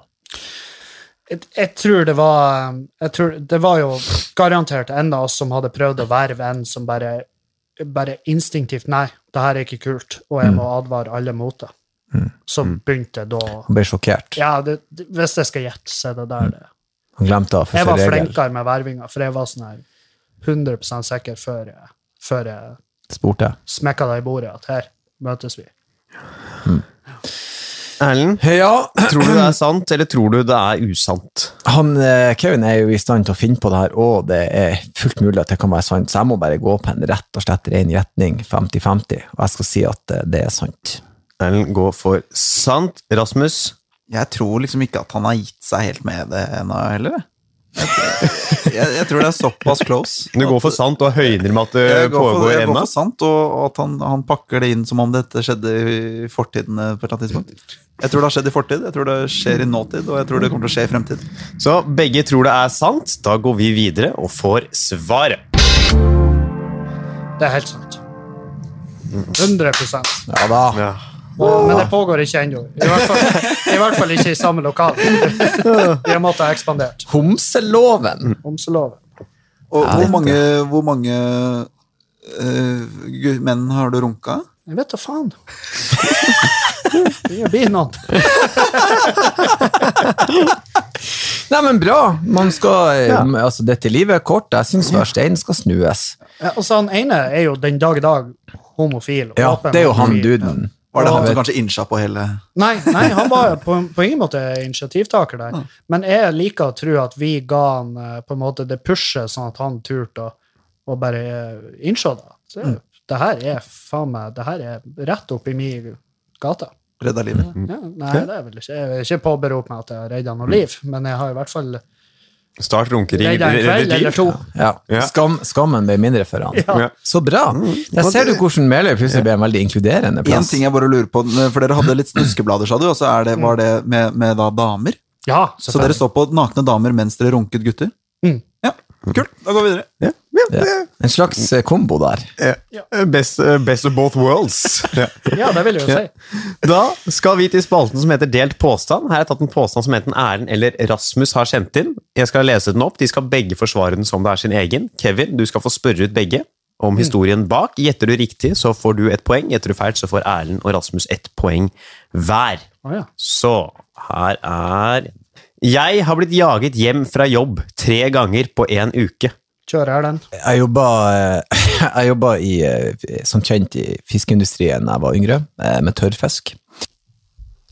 [SPEAKER 4] Jeg, jeg tror det var um, jeg tror, Det var jo garantert en av oss som hadde prøvd å verve en som bare, bare instinktivt Nei, det her er ikke kult, og jeg må advare alle mot det. Så begynte jeg da å-
[SPEAKER 3] Han ble sjokkert.
[SPEAKER 4] Ja, det, det- hvis jeg skal gjette, så er det der det
[SPEAKER 3] Han glemte å
[SPEAKER 4] Jeg var
[SPEAKER 3] første regel.
[SPEAKER 4] flinkere med vervinga, for jeg var sånn her 100 sikker før jeg, før jeg
[SPEAKER 3] Spurte.
[SPEAKER 4] smekka deg i bordet at her møtes vi.
[SPEAKER 2] Erlend,
[SPEAKER 3] Ja,
[SPEAKER 2] tror du det er sant, eller tror du det er usant?
[SPEAKER 3] han, eh, Kevin er jo i stand til å finne på det her, og det er fullt mulig at det kan være sant, så jeg må bare gå på en rett og slett ren gjetning, 50-50, og jeg skal si at eh, det er sant.
[SPEAKER 2] Erlend går for sant. Rasmus?
[SPEAKER 5] Jeg tror liksom ikke at han har gitt seg helt med det ennå heller. Jeg, tror- jeg, jeg tror det er såpass close.
[SPEAKER 2] Du går for sant og høyner med at det
[SPEAKER 5] Jeg går for,
[SPEAKER 2] pågår
[SPEAKER 5] jeg går
[SPEAKER 2] ennå?
[SPEAKER 5] for sant, og, og at han, han pakker det inn som om dette skjedde i fortiden. eh, på et eller annet tidspunkt. Jeg tror det har skjedd i fortid, jeg tror det skjer i nåtid, og jeg tror det kommer til å skje i fremtid.
[SPEAKER 2] Så begge tror det er sant. Da går vi videre og får svaret.
[SPEAKER 4] Det er helt sant. 100
[SPEAKER 3] Ja da.
[SPEAKER 4] Og- Men det pågår ikke ennå. I, hvert fall- I hvert fall ikke i samme lokal. Vi har måttet ha ekspandert. Mm.
[SPEAKER 3] Homseloven!
[SPEAKER 4] Homseloven.
[SPEAKER 5] Og
[SPEAKER 3] Ja,
[SPEAKER 5] hvor
[SPEAKER 3] dette-
[SPEAKER 5] mange, hvor mange eh, gu- menn har du runka?
[SPEAKER 4] Jeg vet da faen. Det blir noen.
[SPEAKER 3] Nei, men bra! Man skal,
[SPEAKER 2] Ja.
[SPEAKER 3] altså, dette livet er kort. Jeg syns hver stein skal snues.
[SPEAKER 4] Ja, altså, han ene er jo den dag i dag homofil.
[SPEAKER 3] Ja,
[SPEAKER 4] åpen
[SPEAKER 3] det er jo han
[SPEAKER 4] homofil.
[SPEAKER 3] duden.
[SPEAKER 5] Var det han
[SPEAKER 3] Jeg
[SPEAKER 5] som
[SPEAKER 3] vet-
[SPEAKER 5] kanskje innsa på hele
[SPEAKER 4] Nei, nei, han var på, på ingen måte initiativtaker der. Men jeg liker å tro at vi ga han eh, på en måte det pushet, sånn at han turte å, å bare eh, innse det. Så, Det her er faen meg Det her er rett oppi min gate.
[SPEAKER 5] redda livet?
[SPEAKER 4] Ja, nei, det er vel ikke Jeg vil ikke påberope meg at jeg har redda noe liv, men jeg har i hvert fall
[SPEAKER 2] Start runkeri.
[SPEAKER 4] redda en kveld eller to.
[SPEAKER 3] Ja.
[SPEAKER 2] Ja.
[SPEAKER 3] Skam, skammen ble mindre for han.
[SPEAKER 2] Ja.
[SPEAKER 3] Så bra! Der ser du hvordan Meløy plutselig ble en veldig inkluderende
[SPEAKER 5] En
[SPEAKER 3] plass.
[SPEAKER 5] ting jeg bare lurer på, for dere hadde litt snuskeblader, sa du, og så er det, var det med, med da damer?
[SPEAKER 4] Ja,
[SPEAKER 5] Så dere
[SPEAKER 4] selvfølgelig.
[SPEAKER 5] så på nakne damer mens dere runket gutter?
[SPEAKER 4] Mm.
[SPEAKER 5] Ja, kult. Da går vi videre.
[SPEAKER 3] En slags eh, kombo der.
[SPEAKER 2] Eh, Best, best of both worlds.
[SPEAKER 4] Ja, det vil jeg jo si.
[SPEAKER 2] Da skal vi til spalten som heter Delt påstand. Her har jeg tatt en påstand som enten Erlend eller Rasmus har sendt inn. Jeg skal lese den opp. De skal begge forsvare den som det er sin egen. Kevin, du skal få spørre ut begge
[SPEAKER 4] Mm.
[SPEAKER 2] om historien bak. Gjetter du riktig, så får du ett poeng. Gjetter du feilt, så får Erlend og Rasmus ett poeng hver.
[SPEAKER 4] Å, ja.
[SPEAKER 2] Så her er Jeg har blitt jaget hjem fra jobb tre ganger på én uke.
[SPEAKER 4] Kjører jeg den?
[SPEAKER 3] Jeg jobba, eh, jeg jobba i, eh, som kjent i fiskeindustrien da jeg var yngre, eh, med tørrfisk.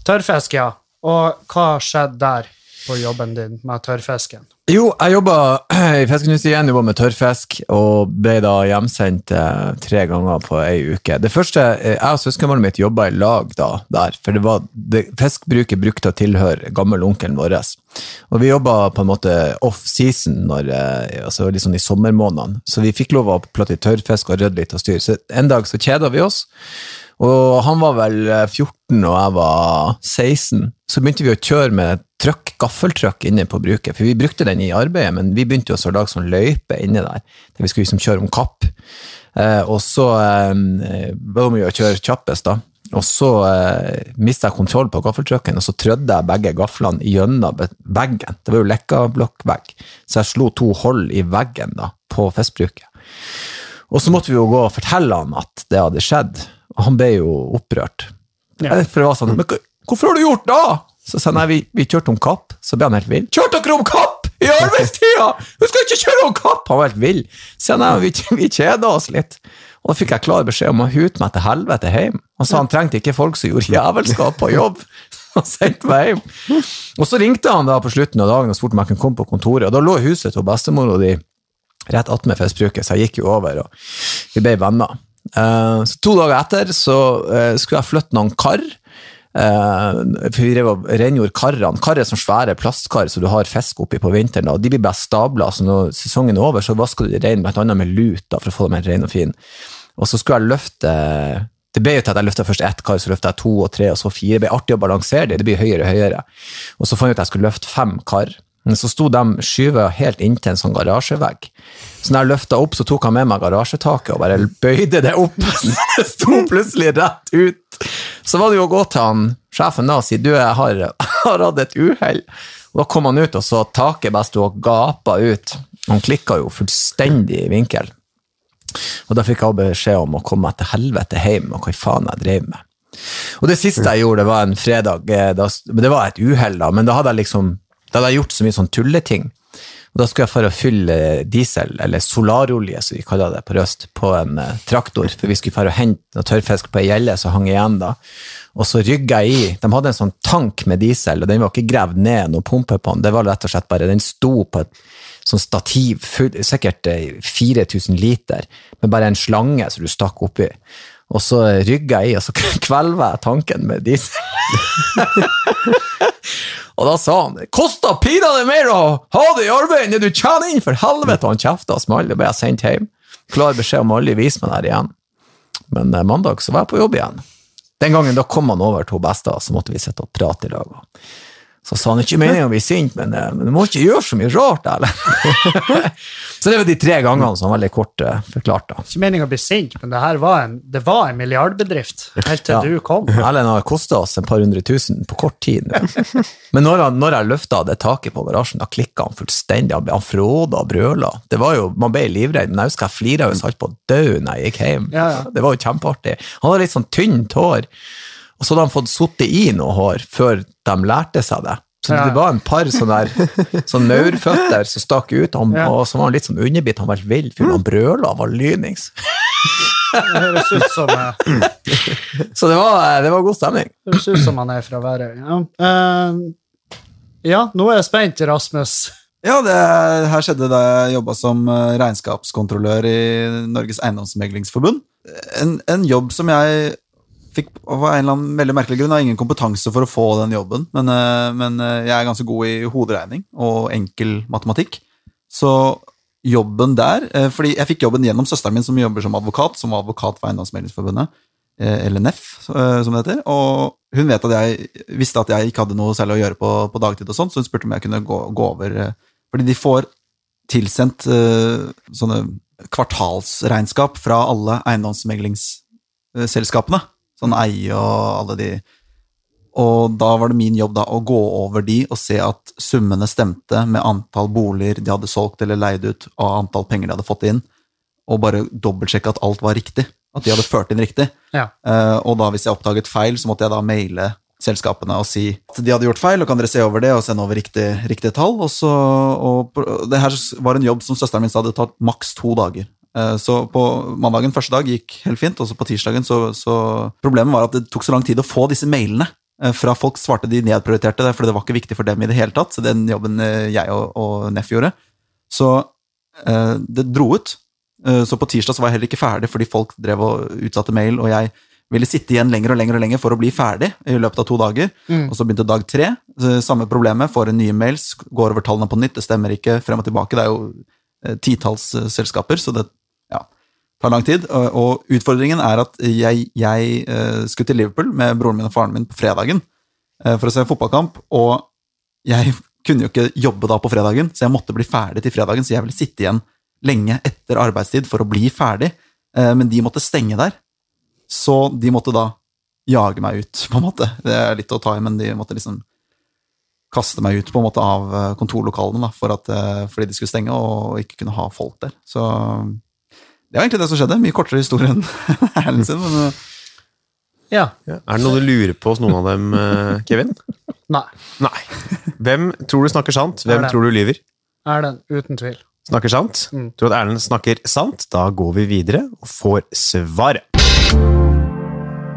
[SPEAKER 4] Tørrfisk, ja. Og hva skjedde der på jobben din med tørrfisken?
[SPEAKER 3] Jo, jeg jobba i fiskeindustrien, jobba med tørrfisk, og ble da hjemsendt eh, tre ganger på ei uke. Det første, eh, Jeg og søskenbarnet mitt jobba i lag da, der, for det var, det, fiskbruket brukte å tilhøre gammelonkelen vår. Og vi jobba på en måte off-season, når, eh, altså litt sånn i sommermånedene, så vi fikk lov å plate i tørrfisk og rydde litt og styre. Så en dag så kjeda vi oss. Og han var vel eh, 14, og jeg var 16. Så begynte vi å kjøre med trøkk, gaffeltrøkk inne på bruket. For vi brukte den i arbeidet, men vi begynte jo også å lage sånn løype inne der. Der vi skulle liksom kjøre om kapp. Eh, og så eh, var vi jo å kjøre kjappest, da. Og så eh, mista jeg kontroll på gaffeltrucken, og så trødde jeg begge gaflene gjennom be- veggen. Det var jo lekkablokkvegg, så jeg slo to hold i veggen da, på fiskebruket. Og så måtte vi jo gå og fortelle han at det hadde skjedd, og han ble jo opprørt.
[SPEAKER 4] Ja.
[SPEAKER 3] For det var sånn, men hva- hvorfor har du gjort da? Så sa jeg, nei, vi, vi kjørte om kapp, så ble han helt vill. Kjørte dere om kapp i arbeidstida? Du skal ikke kjøre om kapp! Han var helt vill. Så jeg, nei, vi, vi kjeda oss litt. Og da fikk jeg klar beskjed om å hute meg til helvete hjem. Han sa han trengte ikke folk som gjorde jævelskap på jobb. Han sendte meg hjem. Og så ringte han da på slutten av dagen og spurte om jeg kunne komme på kontoret, og da lå huset til bestemor og de rett attmed festbruket, så jeg gikk jo over, og vi ble venner. Eh, så to dager etter så eh, skulle jeg flytte noen kar, eh, for vi drev og rengjorde karrene. Kar er sånn svære plastkar som du har fisk oppi på vinteren, da, og de blir bare stabla, så når sesongen er over, så vasker du de rein, blant annet med lut, da, for å få dem helt rein og fin. Og så skulle jeg løfte det ble jo til at jeg løfta først ett kar, så løfta jeg to og tre og så fire. Det ble artig å balansere det. Det blir høyere og høyere. Og så fant jeg ut at jeg skulle løfte fem kar. Men så sto de skyva helt inntil en sånn garasjevegg. Så når jeg løfta opp, så tok han med meg garasjetaket og bare bøyde det opp. Så det sto plutselig rett ut. Så var det jo å gå til han sjefen da og si du, jeg har, har hatt et uhell. Og da kom han ut og så at taket bare sto og gapa ut. Han klikka jo fullstendig i vinkel. Og da fikk jeg også beskjed om å komme meg til helvete hjem, og hva faen jeg drev med. Og det siste jeg gjorde, det var en fredag. eh, Da, det var et uhell, da, men da hadde jeg liksom da hadde jeg gjort så mye sånn tulleting. Og da skulle jeg for å fylle eh, diesel, eller solarolje, som vi kaller det på Røst, på en eh, traktor, for vi skulle for å hente noe tørrfisk på ei gjelle som hang igjen da. Og så rygga jeg i. De hadde en sånn tank med diesel, og den var ikke gravd ned noe pumpe på den. Det var rett og slett bare, den sto på et sånn stativ, full, sikkert eh, 4000 liter, med bare en slange som du stakk oppi. Og så rygga jeg i, og så kvelva jeg tanken med diesel. og da sa han kosta pinadø mer å ha det i arbeid enn det du tjener inn, for helvete! Og han kjefta og smalt, og ble jeg sendt hjem. Klar beskjed om aldri vise meg der igjen. Men eh, mandag så var jeg på jobb igjen. Den gangen da kom han over til besta, så måtte vi sitte og prate i lag. og så sa han ikke meningen å bli sint, men, eh, men du må ikke gjøre så mye rart, eller? så det var de tre gangene som var veldig kort eh, forklart, da.
[SPEAKER 4] Ikke meningen å bli sint, men det her var en, det var en milliardbedrift helt til
[SPEAKER 3] Ja.
[SPEAKER 4] du kom.
[SPEAKER 3] Erlend har kosta oss en par hundre tusen på kort tid nå. Men når, han, når jeg løfta det taket på garasjen, da klikka han fullstendig. Han, ble- han fråda og brøla. Det var jo, man ble livredd, men jeg husker jeg flira og holdt på å dø når jeg gikk hjem.
[SPEAKER 4] Ja, ja.
[SPEAKER 3] Det var jo kjempeartig. Han hadde litt sånn tynt hår, og så hadde han fått sittet i noe hår før de lærte seg det. Så det
[SPEAKER 4] Ja.
[SPEAKER 3] var en par sånne der, sånn maurføtter som stakk ut, han,
[SPEAKER 4] Ja.
[SPEAKER 3] og så var han litt sånn underbitt. Han var helt vill, for han brøla, han var lynings.
[SPEAKER 4] Det høres ut som, eh,
[SPEAKER 3] Så det var, eh, det var god stemning.
[SPEAKER 4] det høres ut som han er fra Værøy. Ja. Eh, ja, nå er jeg spent, Rasmus.
[SPEAKER 5] Ja, det her skjedde da jeg jobba som eh, regnskapskontrollør i Norges Eiendomsmeglingsforbund. En, en jobb som jeg fikk av en eller annen veldig merkelig grunn. Jeg har ingen kompetanse for å få den jobben, men, eh, men eh, jeg er ganske god i hoderegning og enkel matematikk. Så jobben der eh, fordi jeg fikk jobben gjennom søsteren min som jobber som advokat, som var advokat for Eiendomsmeglingsforbundet. eh, Eller NEF, eh, som det heter. Og hun vet at jeg visste at jeg ikke hadde noe særlig å gjøre på, på dagtid, og sånt, så hun spurte om jeg kunne gå, gå over eh, fordi de får tilsendt eh, sånne kvartalsregnskap fra alle eiendomsmeglingsselskapene. Sånn eie og alle de. Og da var det min jobb da å gå over de og se at summene stemte med antall boliger de hadde solgt eller leid ut, og antall penger de hadde fått inn. Og bare dobbeltsjekke at alt var riktig. At de hadde ført inn riktig.
[SPEAKER 4] Ja.
[SPEAKER 5] Eh, og da hvis jeg oppdaget feil, så måtte jeg da maile selskapene og si at de hadde gjort feil, og kan dere se over det og sende over riktig, riktige tall. Og så, og pr- det her var en jobb som søsteren min sa hadde tatt maks to dager. Eh, Så på mandagen første dag gikk helt fint, og så på tirsdagen så, så Problemet var at det tok så lang tid å få disse mailene. eh, Fra folk svarte de nedprioriterte det, for det var ikke viktig for dem i det hele tatt. Så den jobben eh, jeg og, og Neff gjorde. Så eh, det dro ut. Eh, så på tirsdag så var jeg heller ikke ferdig fordi folk drev og utsatte mail, og jeg ville sitte igjen lenger og lenger og lenger for å bli ferdig i løpet av to dager.
[SPEAKER 4] Mm.
[SPEAKER 5] Og så begynte dag tre. eh, Samme problemet. Får en nye mails, går over tallene på nytt, det stemmer ikke, frem og tilbake. Det er jo eh, titalls eh, selskaper, så det ja, tar lang tid. Og, og utfordringen er at jeg, jeg eh, skulle til Liverpool med broren min og faren min på fredagen eh, for å se fotballkamp, og jeg kunne jo ikke jobbe da på fredagen, så jeg måtte bli ferdig til fredagen, så jeg ville sitte igjen lenge etter arbeidstid for å bli ferdig, eh, men de måtte stenge der. Så de måtte da jage meg ut, på en måte. Det er litt å ta i, men de måtte liksom kaste meg ut på en måte av eh, kontorlokalene da, for at, eh, fordi de skulle stenge og ikke kunne ha folk der. Så det var egentlig det som skjedde. Mye kortere historie enn Erlend sin, men eh,
[SPEAKER 4] Ja.
[SPEAKER 2] Er det noe du lurer på hos noen av dem, eh, Kevin?
[SPEAKER 4] Nei.
[SPEAKER 2] Nei. Hvem tror du snakker sant? Hvem
[SPEAKER 4] Erlend.
[SPEAKER 2] tror du lyver?
[SPEAKER 4] Erlend, uten tvil.
[SPEAKER 2] Snakker sant?
[SPEAKER 4] Mm.
[SPEAKER 2] Tror du at Erlend snakker sant? Da går vi videre og får svaret.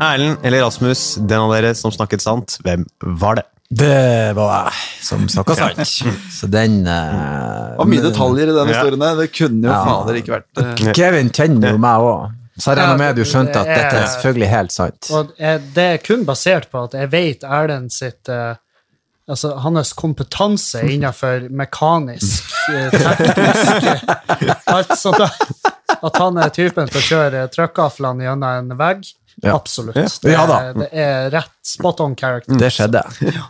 [SPEAKER 2] Erlend eller Rasmus, den av dere som snakket sant, hvem var det?
[SPEAKER 3] Det var jeg som snakka sant. Så den eh,
[SPEAKER 5] det var mye detaljer i den
[SPEAKER 2] Ja.
[SPEAKER 5] historien der. Det kunne jo
[SPEAKER 3] Ja.
[SPEAKER 5] fader ikke vært eh,
[SPEAKER 3] Kevin kjenner jo meg òg, så jeg regner med du skjønte
[SPEAKER 4] Ja,
[SPEAKER 3] at
[SPEAKER 4] det er-
[SPEAKER 3] dette er selvfølgelig helt sant.
[SPEAKER 4] Og jeg, det er kun basert på at jeg vet Erlend sitt eh, Altså hans kompetanse innenfor mekanisk, eh, teknisk eh, Alt sånt der. At han er typen til å kjøre trøkkaflene gjennom en vegg.
[SPEAKER 3] Ja.
[SPEAKER 4] Absolutt.
[SPEAKER 3] Ja.
[SPEAKER 4] Det,
[SPEAKER 3] Ja da.
[SPEAKER 4] er, det er rett spot on character.
[SPEAKER 3] Det skjedde.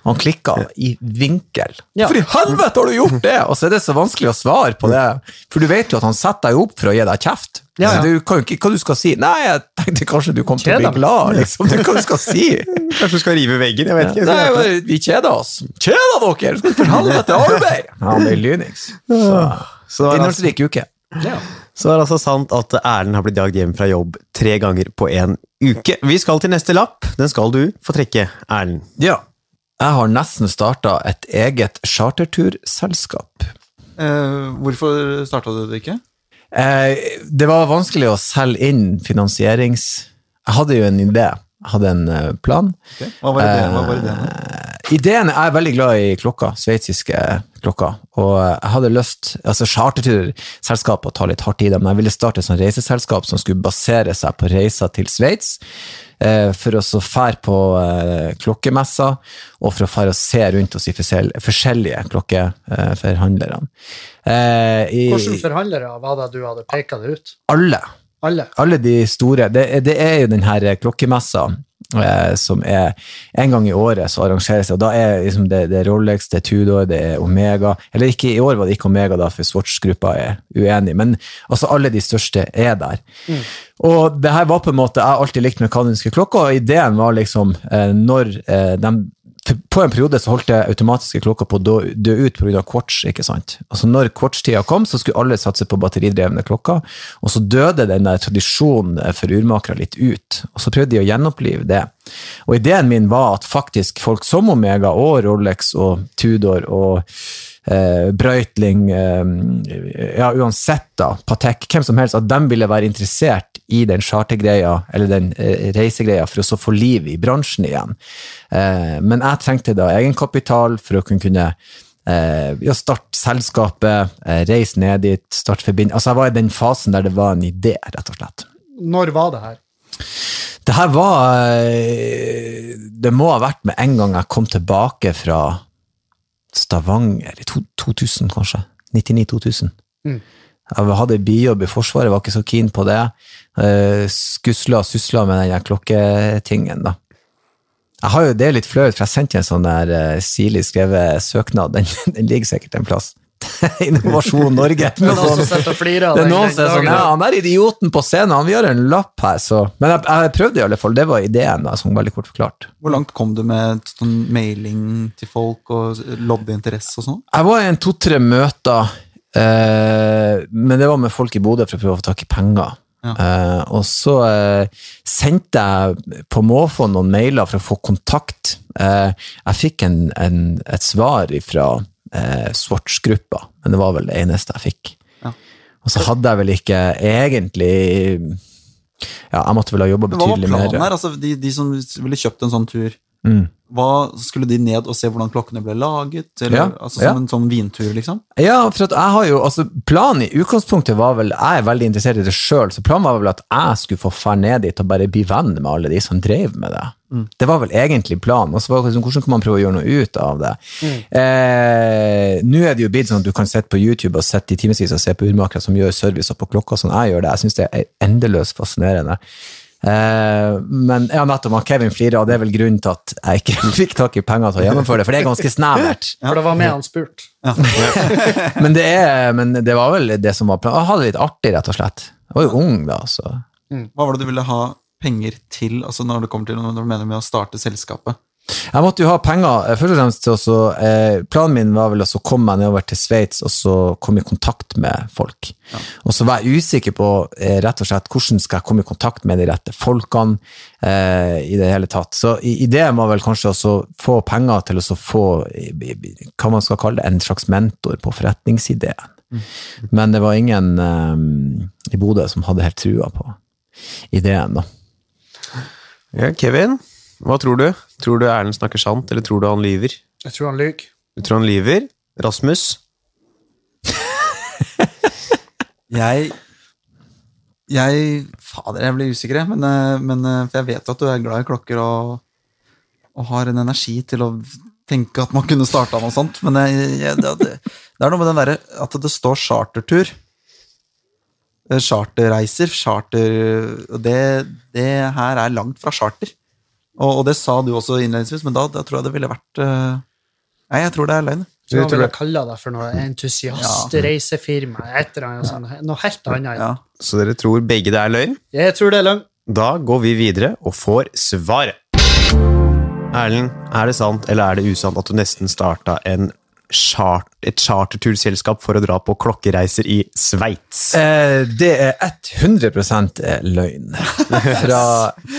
[SPEAKER 3] Han klikka i vinkel.
[SPEAKER 4] Ja.
[SPEAKER 3] For i helvete har du gjort det?! Og så er det så vanskelig å svare på det. For du vet jo at han setter deg opp for å gi deg kjeft.
[SPEAKER 4] Ja, ja.
[SPEAKER 3] Så du kan jo ikke hva du skal si. Nei, jeg tenkte kanskje du kom til å
[SPEAKER 4] Kjeder
[SPEAKER 3] bli
[SPEAKER 4] meg.
[SPEAKER 3] glad, liksom. Det er hva du skal si.
[SPEAKER 2] Kanskje du skal rive veggen? Jeg vet
[SPEAKER 3] Nei,
[SPEAKER 2] ikke.
[SPEAKER 3] bare, vi kjeder oss. Kjeder dere! Skal for helvete arbeid! Ja, han ble lynings. Så
[SPEAKER 2] Så det var altså,
[SPEAKER 3] Innholdsrik uke.
[SPEAKER 4] Ja.
[SPEAKER 2] så det er altså sant at Erlend har blitt jagd hjem fra jobb tre ganger på en uke. Vi skal til neste lapp. Den skal du få trekke, Erlend.
[SPEAKER 3] Ja. Jeg har nesten starta et eget charterturselskap.
[SPEAKER 5] eh, Hvorfor starta du det ikke?
[SPEAKER 3] Eh, det var vanskelig å selge inn finansierings... Jeg hadde jo en idé. Jeg hadde en eh, plan.
[SPEAKER 5] Ok, Hva var ideen? Hva var ideen?
[SPEAKER 3] Eh, ideen Jeg er veldig glad i klokka, sveitsiske klokka. Og eh, jeg hadde lyst altså Charterturselskapet tar litt hardt i det, men jeg ville starte et sånt reiseselskap som skulle basere seg på reiser til Sveits. eh, For å så fære på eh, klokkemesser, og for å fære og se rundt hos de forskjell- forskjellige klokkeforhandlerne. Eh, i-
[SPEAKER 4] Hvilke forhandlere var det du hadde peka det ut?
[SPEAKER 3] Alle
[SPEAKER 4] Alle?
[SPEAKER 3] alle de store Det, er- det er jo den her klokkemessa eh, som er en gang i året så arrangeres det, og da er liksom det, det er Rolex, det er Tudor, det er Omega Eller ikke i år var det ikke Omega, da, for Swatch-gruppa er uenig, men altså alle de største er der. Og det her var på en måte Jeg har alltid likt mekaniske klokker, og ideen var liksom eh, når eh, de for på en periode så holdt det automatiske klokka på å dø- dø ut pga. quartz. ikke sant? Altså Når quartz-tida kom, så skulle alle satse på batteridrevne klokker, og så døde den der tradisjonen for urmakere litt ut. Og så prøvde de å gjenopplive det. Og ideen min var at faktisk folk som Omega og Rolex og Tudor og eh, Breitling, eh, ja, uansett da, Patek, hvem som helst, at de ville være interessert i den chartergreia, eller den eh, reisegreia, for å så få liv i bransjen igjen. Eh, men jeg trengte da egenkapital for å kunne, kunne eh, ja, starte selskapet, eh, reise ned dit, starte forbind... Altså, jeg var i den fasen der det var en idé, rett og slett.
[SPEAKER 4] Når var det her?
[SPEAKER 3] Det her var eh, Det må ha vært med en gang jeg kom tilbake fra Stavanger i to- 2000, kanskje. 99-2000.
[SPEAKER 4] Mm.
[SPEAKER 3] Jeg hadde bijobb i Forsvaret, var ikke så keen på det. Eh, Skusla og susla med den der klokketingen, da. Jeg har jo det litt flaut, for jeg sendte en sånn der eh, sirlig skrevet søknad. Den, den ligger sikkert en plass. Innovasjon Norge.
[SPEAKER 4] Det er noen som sitter og flirer av
[SPEAKER 3] Det er
[SPEAKER 4] den
[SPEAKER 3] noen
[SPEAKER 4] den
[SPEAKER 3] som er sånn,
[SPEAKER 4] dagen.
[SPEAKER 3] ja, han er idioten på scenen, han gjør en lapp her, så Men jeg, jeg prøvde i alle fall, det var ideen, da, sånn veldig kort forklart.
[SPEAKER 5] Hvor langt kom du med sånn mailing til folk og lobbyinteresse og sånn?
[SPEAKER 3] Jeg var i en to-tre møter, eh, men det var med folk i Bodø for å prøve å få tak i penger.
[SPEAKER 5] Ja.
[SPEAKER 3] Eh, og så eh, sendte jeg på måfå noen mailer for å få kontakt. Eh, jeg fikk en, en, et svar fra eh, Swatch-gruppa, men det var vel det eneste jeg fikk.
[SPEAKER 5] Ja.
[SPEAKER 3] Og så hadde jeg vel ikke egentlig Ja, jeg måtte vel ha jobba
[SPEAKER 5] Men Hva var
[SPEAKER 3] betydelig mer.
[SPEAKER 5] planen her? Altså, de, de som ville kjøpt en sånn tur,
[SPEAKER 3] Mm.
[SPEAKER 5] hva, skulle de ned og se hvordan klokkene ble laget? Eller,
[SPEAKER 3] Ja,
[SPEAKER 5] altså,
[SPEAKER 3] ja.
[SPEAKER 5] som en sånn vintur, liksom?
[SPEAKER 3] Ja, for at jeg har jo, altså planen i utgangspunktet var vel, jeg er veldig interessert i det selv, så planen var vel at jeg skulle få fær ned dit og bare bli venn med alle de som drev med det. Det var vel egentlig planen, og så var det liksom, hvordan kan man prøve å gjøre noe ut av det? Eh, Nå er det jo blitt sånn at du kan sitte på YouTube og sitte i timesvis og se på urmakere som gjør service og på klokka, sånn jeg gjør det. Jeg synes det er endeløst fascinerende. Eh, men ja, nettopp, han Kevin flirer, og det er vel grunnen til at jeg ikke fikk tak i penger til å gjennomføre det, for det er ganske snævert.
[SPEAKER 4] For det var med han spurt.
[SPEAKER 3] Men det, er, men det var vel det som var planen. Jeg hadde det litt artig, rett og slett. Jeg var jo ung da, så
[SPEAKER 5] Hva var det du ville ha penger til altså, når det kommer til når du mener med å starte selskapet?
[SPEAKER 3] Jeg måtte jo ha penger, eh, først og fremst til å så, eh, Planen min var vel å så komme meg nedover til Sveits og så komme i kontakt med folk. Og så var jeg usikker på eh, rett og slett hvordan skal jeg komme i kontakt med de rette folkene eh, i det hele tatt. Så i- ideen var vel kanskje å så få penger til å så få i- i- i- hva man skal kalle det, en slags mentor på forretningsideen. Men det var ingen eh, i Bodø som hadde helt trua på ideen, da.
[SPEAKER 2] Ja, Kevin, hva tror du? Tror du Erlend snakker sant, eller tror du han lyver?
[SPEAKER 4] Jeg tror han lyver.
[SPEAKER 2] Du tror han lyver? Rasmus?
[SPEAKER 5] Jeg jeg, Fader, jeg blir usikker, jeg. Men, eh, men eh, for jeg vet at du er glad i klokker og, og har en energi til å tenke at man kunne starta noe sånt. Men jeg, jeg, det, det, det er noe med den derre at det står chartertur. Eh, Charterreiser, charter og det, det her er langt fra charter. Og, og det sa du også innledningsvis, men da, da tror jeg det ville vært eh, Nei, jeg tror det er løgn.
[SPEAKER 4] Så han
[SPEAKER 2] tror
[SPEAKER 4] ville
[SPEAKER 2] det.
[SPEAKER 4] kalle deg for noe entusiastreisefirma. Et eller annet sånt. Noe helt annet.
[SPEAKER 5] Ja.
[SPEAKER 2] Så dere tror begge det er løgn?
[SPEAKER 4] Jeg tror det er løgn.
[SPEAKER 2] Da går vi videre og får svaret. Erlend, er det sant eller er det usant at du nesten starta en chart, et charterturselskap for å dra på klokkereiser i Sveits?
[SPEAKER 3] Eh, det er 100 løgn. Fra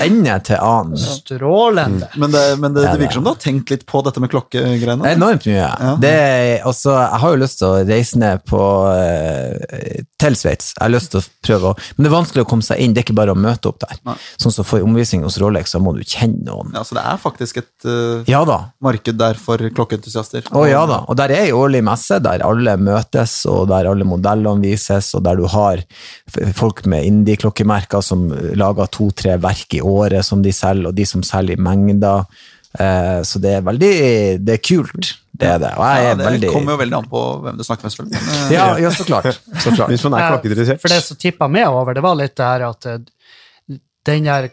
[SPEAKER 3] ende til annen.
[SPEAKER 4] Strålende.
[SPEAKER 5] Men, det, men det, det virker som du har tenkt litt på dette med klokkegreiene.
[SPEAKER 3] Enormt mye. Det er, altså, jeg har jo lyst til å reise ned på, eh, til Sveits. Jeg har lyst til å prøve å Men det er vanskelig å komme seg inn. Det er ikke bare å møte opp der.
[SPEAKER 5] Nei.
[SPEAKER 3] Sånn som for omvisning hos Rolex, så må du kjenne noen.
[SPEAKER 5] Ja, så det er faktisk et eh,
[SPEAKER 3] Ja da.
[SPEAKER 5] marked der for klokkeentusiaster.
[SPEAKER 3] Å ja da. Og der er jo årlig messe, der alle møtes, og der alle modellene vises, og der du har f- folk med indie-klokkemerker som lager to-tre verk i året som de selger, og de som selger i mengder. Eh, Så det er veldig Det er kult, det er det. Og jeg
[SPEAKER 5] Ja,
[SPEAKER 3] er
[SPEAKER 5] det kommer jo
[SPEAKER 3] veldig
[SPEAKER 5] veldig an på hvem du snakker med, selvfølgelig. Men, eh,
[SPEAKER 3] ja, ja, så klart. Så klart.
[SPEAKER 2] Hvis man er
[SPEAKER 4] Ja, For det
[SPEAKER 2] klokkeinteressert.
[SPEAKER 4] som tippa meg over, det var litt det her at eh, den der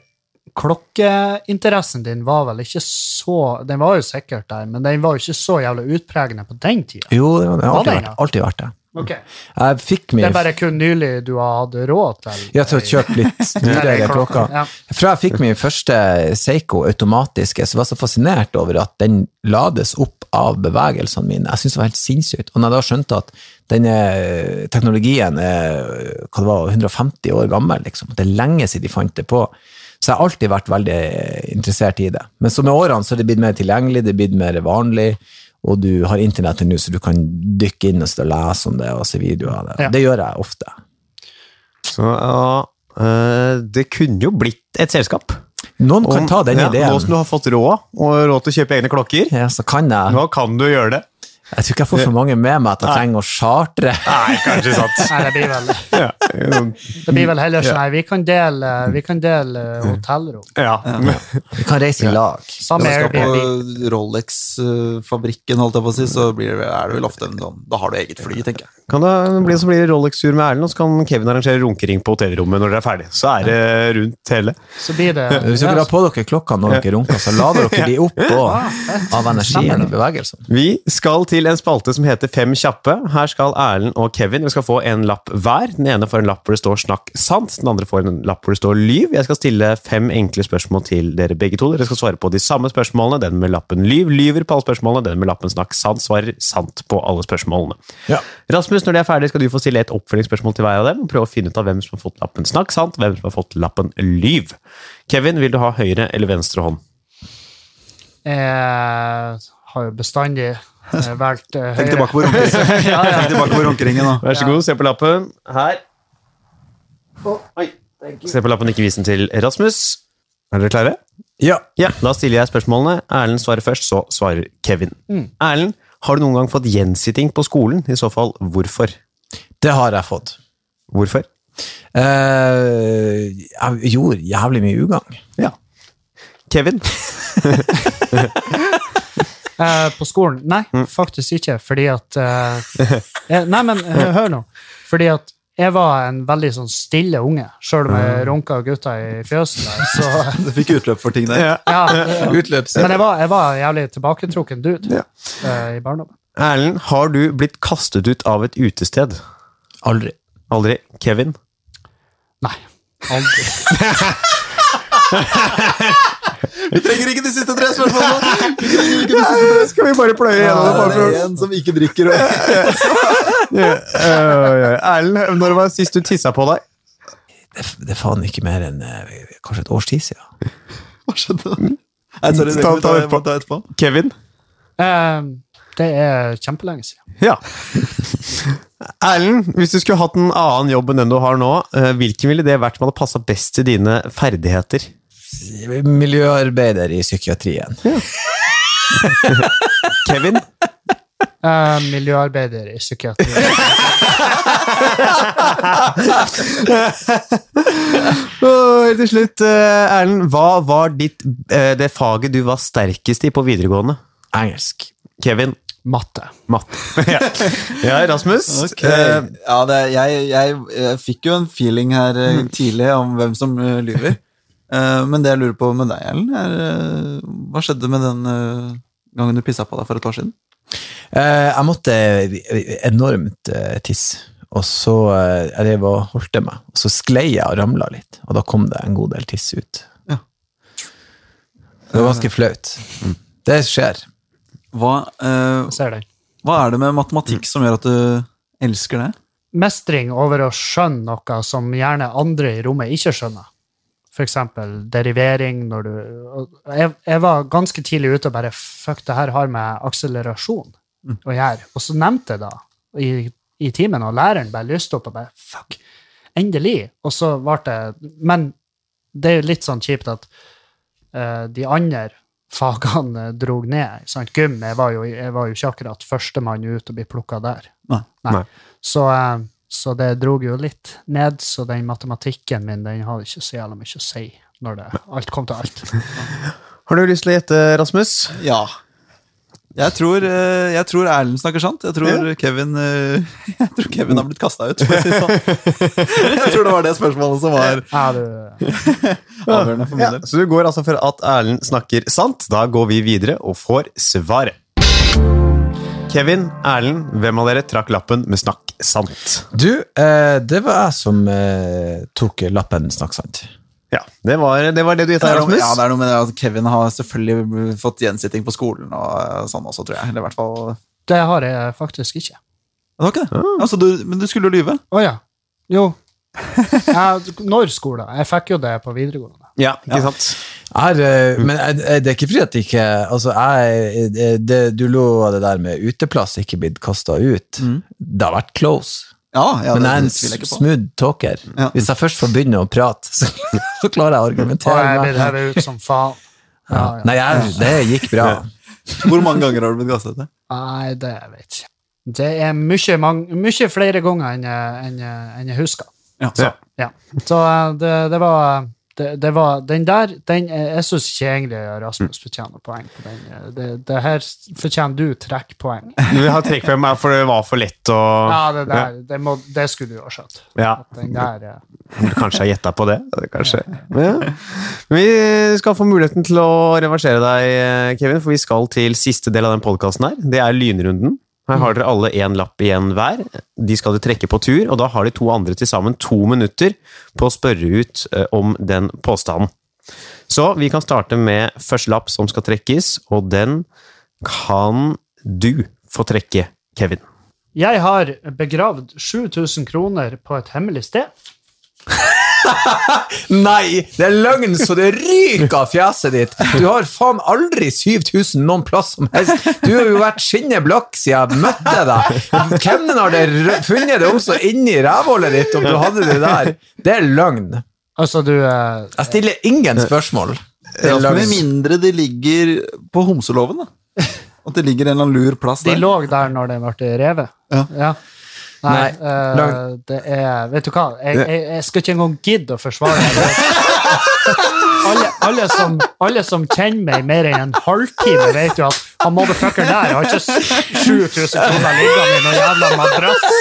[SPEAKER 4] klokkeinteressen din var vel ikke så Den var jo sikkert der, men den var jo ikke så jævla utpregende på den tida.
[SPEAKER 3] Jo, det har
[SPEAKER 4] Var det
[SPEAKER 3] alltid
[SPEAKER 4] en
[SPEAKER 3] vært, alltid vært det.
[SPEAKER 4] Ok.
[SPEAKER 3] Jeg fikk
[SPEAKER 4] Det
[SPEAKER 3] min
[SPEAKER 4] er bare kun nylig du har hatt råd til
[SPEAKER 3] Ja, til å kjøpe litt snurrere klokker.
[SPEAKER 4] Ja.
[SPEAKER 3] Fra jeg fikk min første Seiko automatiske, så var jeg så fascinert over at den lades opp av bevegelsene mine. Jeg syntes det var helt sinnssykt. Og når jeg da skjønte at denne teknologien er hva det var, 150 år gammel, liksom, at det er lenge siden de fant det på, så jeg har alltid vært veldig interessert i det. Men så med årene så har det blitt mer tilgjengelig, det er blitt mer vanlig, og du har internettet nå, så du kan dykke inn og sitte og lese om det og se videoer av det.
[SPEAKER 4] Ja.
[SPEAKER 3] Det gjør jeg ofte.
[SPEAKER 2] Så ja, eh, det kunne jo blitt et selskap.
[SPEAKER 3] Noen kan ta den
[SPEAKER 2] ja, Nå som
[SPEAKER 3] ideen.
[SPEAKER 2] du har fått råd, og råd til å kjøpe egne klokker,
[SPEAKER 3] Ja, så kan jeg.
[SPEAKER 2] nå kan du gjøre det.
[SPEAKER 3] Jeg tror ikke jeg får for mange med meg at jeg trenger å chartre.
[SPEAKER 2] Nei, kanskje sant.
[SPEAKER 4] Nei, det blir vel,
[SPEAKER 2] Ja,
[SPEAKER 4] det blir vel heller sånn Nei, vi kan dele, vi kan dele hotellrom.
[SPEAKER 2] ja.
[SPEAKER 3] Vi kan reise i lag.
[SPEAKER 5] Når
[SPEAKER 4] Samme
[SPEAKER 5] du
[SPEAKER 4] Airbnb.
[SPEAKER 5] skal på Rolex-fabrikken, holdt jeg på å si, så blir det, er det vel ofte en sånn Da har du eget fly, tenker jeg.
[SPEAKER 2] Kan det bli så blir det Rolex-tur med Erlend, og så kan Kevin arrangere runkering på hotellrommet når dere er ferdig. Så er det rundt hele.
[SPEAKER 4] Så blir det
[SPEAKER 3] Hvis dere har på dere klokka når dere runker, så lader dere de opp og av energien i bevegelsene.
[SPEAKER 2] Vi skal til en spalte som heter Fem kjappe. Her skal Erlend og Kevin vi skal få en lapp hver. Den ene får en lapp hvor det står 'snakk sant', den andre får en lapp hvor det står 'lyv'. Jeg skal stille fem enkle spørsmål til dere begge to. Dere skal svare på de samme spørsmålene. Den med lappen 'lyv' lyver på alle spørsmålene. Den med lappen 'snakk sant' svarer sant på alle spørsmålene.
[SPEAKER 3] Ja.
[SPEAKER 2] Rasmus, når de er ferdig, skal du få stille et oppfølgingsspørsmål til hver av dem. og Prøve å finne ut av hvem som har fått lappen 'snakk sant', hvem som har fått lappen 'lyv'. Kevin, vil du ha høyre eller venstre hånd?
[SPEAKER 4] Jeg Eh, har jo bestandig eh, valgt eh,
[SPEAKER 5] Tenk
[SPEAKER 4] høyre.
[SPEAKER 5] tilbake på runkeringen, Tenk tilbake på runkeringen nå.
[SPEAKER 2] Vær så god, se på lappen. Her. Se på lappen, ikke vis den til Rasmus. Er dere klare?
[SPEAKER 3] Ja.
[SPEAKER 2] Ja, Da stiller jeg spørsmålene. Erlend svarer først, så svarer Kevin. Erlend, har du noen gang fått gjensitting på skolen? I så fall, hvorfor?
[SPEAKER 3] Det har jeg fått.
[SPEAKER 2] Hvorfor?
[SPEAKER 3] Eh, jeg gjorde jævlig mye ugagn.
[SPEAKER 2] Ja. Kevin?
[SPEAKER 4] Eh, på skolen? Nei,
[SPEAKER 5] Mm.
[SPEAKER 4] faktisk ikke. Fordi at eh, eh, Nei, men eh, hør nå. Fordi at jeg var en veldig sånn stille unge, sjøl om
[SPEAKER 5] Mm.
[SPEAKER 4] jeg runka gutta i fjøset. der, Så,
[SPEAKER 5] Du fikk utløp for ting der.
[SPEAKER 4] ja.
[SPEAKER 3] Utløps.
[SPEAKER 4] Men jeg var, jeg var en jævlig tilbaketrukken dude eh, i barndommen.
[SPEAKER 2] Erlend, har du blitt kastet ut av et utested?
[SPEAKER 3] Aldri.
[SPEAKER 2] Aldri. Kevin?
[SPEAKER 4] Nei. Aldri.
[SPEAKER 5] Vi trenger ikke de siste tre spørsmålene! Vi trenger ikke de siste
[SPEAKER 2] Skal vi bare pløye
[SPEAKER 5] Ja, det er en som ikke drikker og
[SPEAKER 2] Eh, Erlend, når var sist du tissa på deg?
[SPEAKER 3] Det, det er faen ikke mer enn eh, kanskje et års tid siden.
[SPEAKER 5] Hva skjedde? Nei, sorry, det
[SPEAKER 2] Ta-
[SPEAKER 5] kan
[SPEAKER 2] ta
[SPEAKER 5] vi
[SPEAKER 2] det
[SPEAKER 5] ta, ta etterpå.
[SPEAKER 2] Kevin?
[SPEAKER 4] Eh, det er kjempelenge siden.
[SPEAKER 2] Ja. Erlend, hvis du skulle hatt en annen jobb enn den du har nå, eh, hvilken ville det vært som hadde passa best til dine ferdigheter?
[SPEAKER 3] Miljøarbeider i psykiatrien.
[SPEAKER 2] Kevin?
[SPEAKER 4] Eh, miljøarbeider i psykiatri.
[SPEAKER 2] Og helt til slutt, eh, Erlend, hva var ditt, eh, det faget du var sterkest i på videregående?
[SPEAKER 3] Engelsk.
[SPEAKER 2] Kevin?
[SPEAKER 4] Matte.
[SPEAKER 2] Matte. ja. ja, Rasmus?
[SPEAKER 5] Eh,
[SPEAKER 2] eh,
[SPEAKER 5] ja, det, jeg, jeg, jeg fikk jo en feeling her eh, tidlig om hvem som eh, lyver. Eh, men det jeg lurer på med deg, Ellen, er eh, hva skjedde med den eh, gangen du pissa på deg for et år siden?
[SPEAKER 3] Eh, jeg måtte enormt eh, tisse, og så eh, jeg drev og holdt meg. Og så sklei jeg og ramla litt, og da kom det en god del tiss ut.
[SPEAKER 5] Ja.
[SPEAKER 3] Det var ganske flaut. Det skjer.
[SPEAKER 5] Hva, eh,
[SPEAKER 4] Jeg ser den.
[SPEAKER 5] hva er det med matematikk som gjør at du elsker det?
[SPEAKER 4] mestring over å skjønne noe som gjerne andre i rommet ikke skjønner. For eksempel derivering når du og jeg, jeg var ganske tidlig ute og bare Fuck, det her har med akselerasjon å gjøre. Og så nevnte jeg da i, i timen, og læreren bare lyste opp og bare Fuck, endelig! Og så ble det Men det er jo litt sånn kjipt at eh, de andre fagene drog ned. Sant? Gym, jeg var, jo, jeg var jo ikke akkurat førstemann ut og ble plukka der.
[SPEAKER 5] Nei.
[SPEAKER 2] Nei.
[SPEAKER 4] Så, eh, så det drog jo litt ned, så den matematikken min den hadde ikke så jævla mye å si når det, alt kom til alt.
[SPEAKER 2] har du lyst til å gjette, Rasmus?
[SPEAKER 5] Ja. Jeg tror, eh, jeg tror Erlend snakker sant. Jeg tror, Kevin, eh, jeg tror Kevin har blitt kasta ut, for å si det sånn. Jeg tror det var det spørsmålet som var
[SPEAKER 4] Ja, du,
[SPEAKER 5] avgjørende for min del.
[SPEAKER 2] Så du går altså for at Erlend snakker sant. Da går vi videre og får svaret. Kevin, Erlend, hvem av dere trakk lappen med snakk sant?
[SPEAKER 3] Du, eh, det var jeg som eh, tok lappen, snakk sant.
[SPEAKER 2] Ja, det var det, var det du gjetta,
[SPEAKER 5] Det er noe,
[SPEAKER 2] Rasmus.
[SPEAKER 5] ja, det er noe med det at Kevin har selvfølgelig fått gjensitting på skolen og eh, sånn også, tror jeg. Eller i hvert fall Det
[SPEAKER 4] Det har jeg faktisk ikke.
[SPEAKER 5] var ikke det. Altså, du, men du skulle jo lyve.
[SPEAKER 4] Å ja. Jo. Jeg, når skolen? Jeg fikk jo det på videregående.
[SPEAKER 2] Ja, ikke sant?
[SPEAKER 3] Jeg har, eh, men jeg, jeg, det er ikke fordi at ikke altså jeg, eh, det, Du lova det der med uteplass ikke blitt kasta ut. Det har vært close.
[SPEAKER 5] Ja, ja
[SPEAKER 3] men
[SPEAKER 5] det,
[SPEAKER 3] jeg er
[SPEAKER 5] det
[SPEAKER 3] en
[SPEAKER 5] tviler jeg ikke på.
[SPEAKER 3] smooth talker.
[SPEAKER 5] Ja.
[SPEAKER 3] Hvis jeg først får begynne å prate, så, så klarer jeg å
[SPEAKER 4] Og jeg
[SPEAKER 3] argumentere.
[SPEAKER 4] ble
[SPEAKER 3] meg.
[SPEAKER 4] hevet ut som faen.
[SPEAKER 3] Ja.
[SPEAKER 4] Ja, ja.
[SPEAKER 3] Nei, jeg, det gikk bra.
[SPEAKER 5] Hvor mange ganger har du blitt kastet etter?
[SPEAKER 4] Nei, det vet jeg ikke. Det er mye, mang- mye flere ganger enn jeg, enn jeg, enn jeg husker.
[SPEAKER 5] Ja.
[SPEAKER 2] Ja.
[SPEAKER 4] Ja. Så eh, det, det var det, det var, Den der den, eh, Jeg syns ikke egentlig Rasmus fortjener poeng på den. eh, Det, det her fortjener du trekkpoeng.
[SPEAKER 2] Vi har trekk på meg, for det var for lett å
[SPEAKER 4] Ja, det der Det, må, det skulle du ha skjønt.
[SPEAKER 2] Ja.
[SPEAKER 4] At den der eh,
[SPEAKER 2] Burde kanskje ha gjetta på det. Kanskje. Ja. Vi skal få muligheten til å reversere deg, eh, Kevin, for vi skal til siste del av den podkasten her. Det er lynrunden. Her har dere alle én lapp igjen hver. De skal du trekke på tur, og da har de to andre til sammen to minutter på å spørre ut eh, om den påstanden. Så vi kan starte med første lapp som skal trekkes, og den kan du få trekke, Kevin.
[SPEAKER 4] Jeg har begravd 7000 kroner på et hemmelig sted.
[SPEAKER 3] Nei, det er løgn så det ryker av fjeset ditt! Du har faen aldri 7000 noen plass som helst! Du har jo vært skinnet blakk siden jeg møtte deg! Kemnen har det rø- funnet det om så inni rævhullet ditt om du hadde det der! Det er løgn.
[SPEAKER 4] Altså, du eh,
[SPEAKER 3] Jeg stiller ingen spørsmål. Det
[SPEAKER 5] Ja,
[SPEAKER 3] er
[SPEAKER 5] Med
[SPEAKER 3] løgn.
[SPEAKER 5] mindre de ligger på homseloven, da. At det ligger en eller annen lur plass
[SPEAKER 4] De
[SPEAKER 5] der.
[SPEAKER 4] lå der når det ble revet.
[SPEAKER 5] Ja.
[SPEAKER 4] Nei,
[SPEAKER 3] Nei,
[SPEAKER 4] eh,
[SPEAKER 3] lag-
[SPEAKER 4] det er Vet du hva, jeg, jeg, jeg skal ikke engang gidde å forsvare det. Alle, alle, som, alle som kjenner meg i mer enn en halvtime, vet jo at han motherfuckeren der har ikke s- 7000 kroner liggende i noen jævla madrass.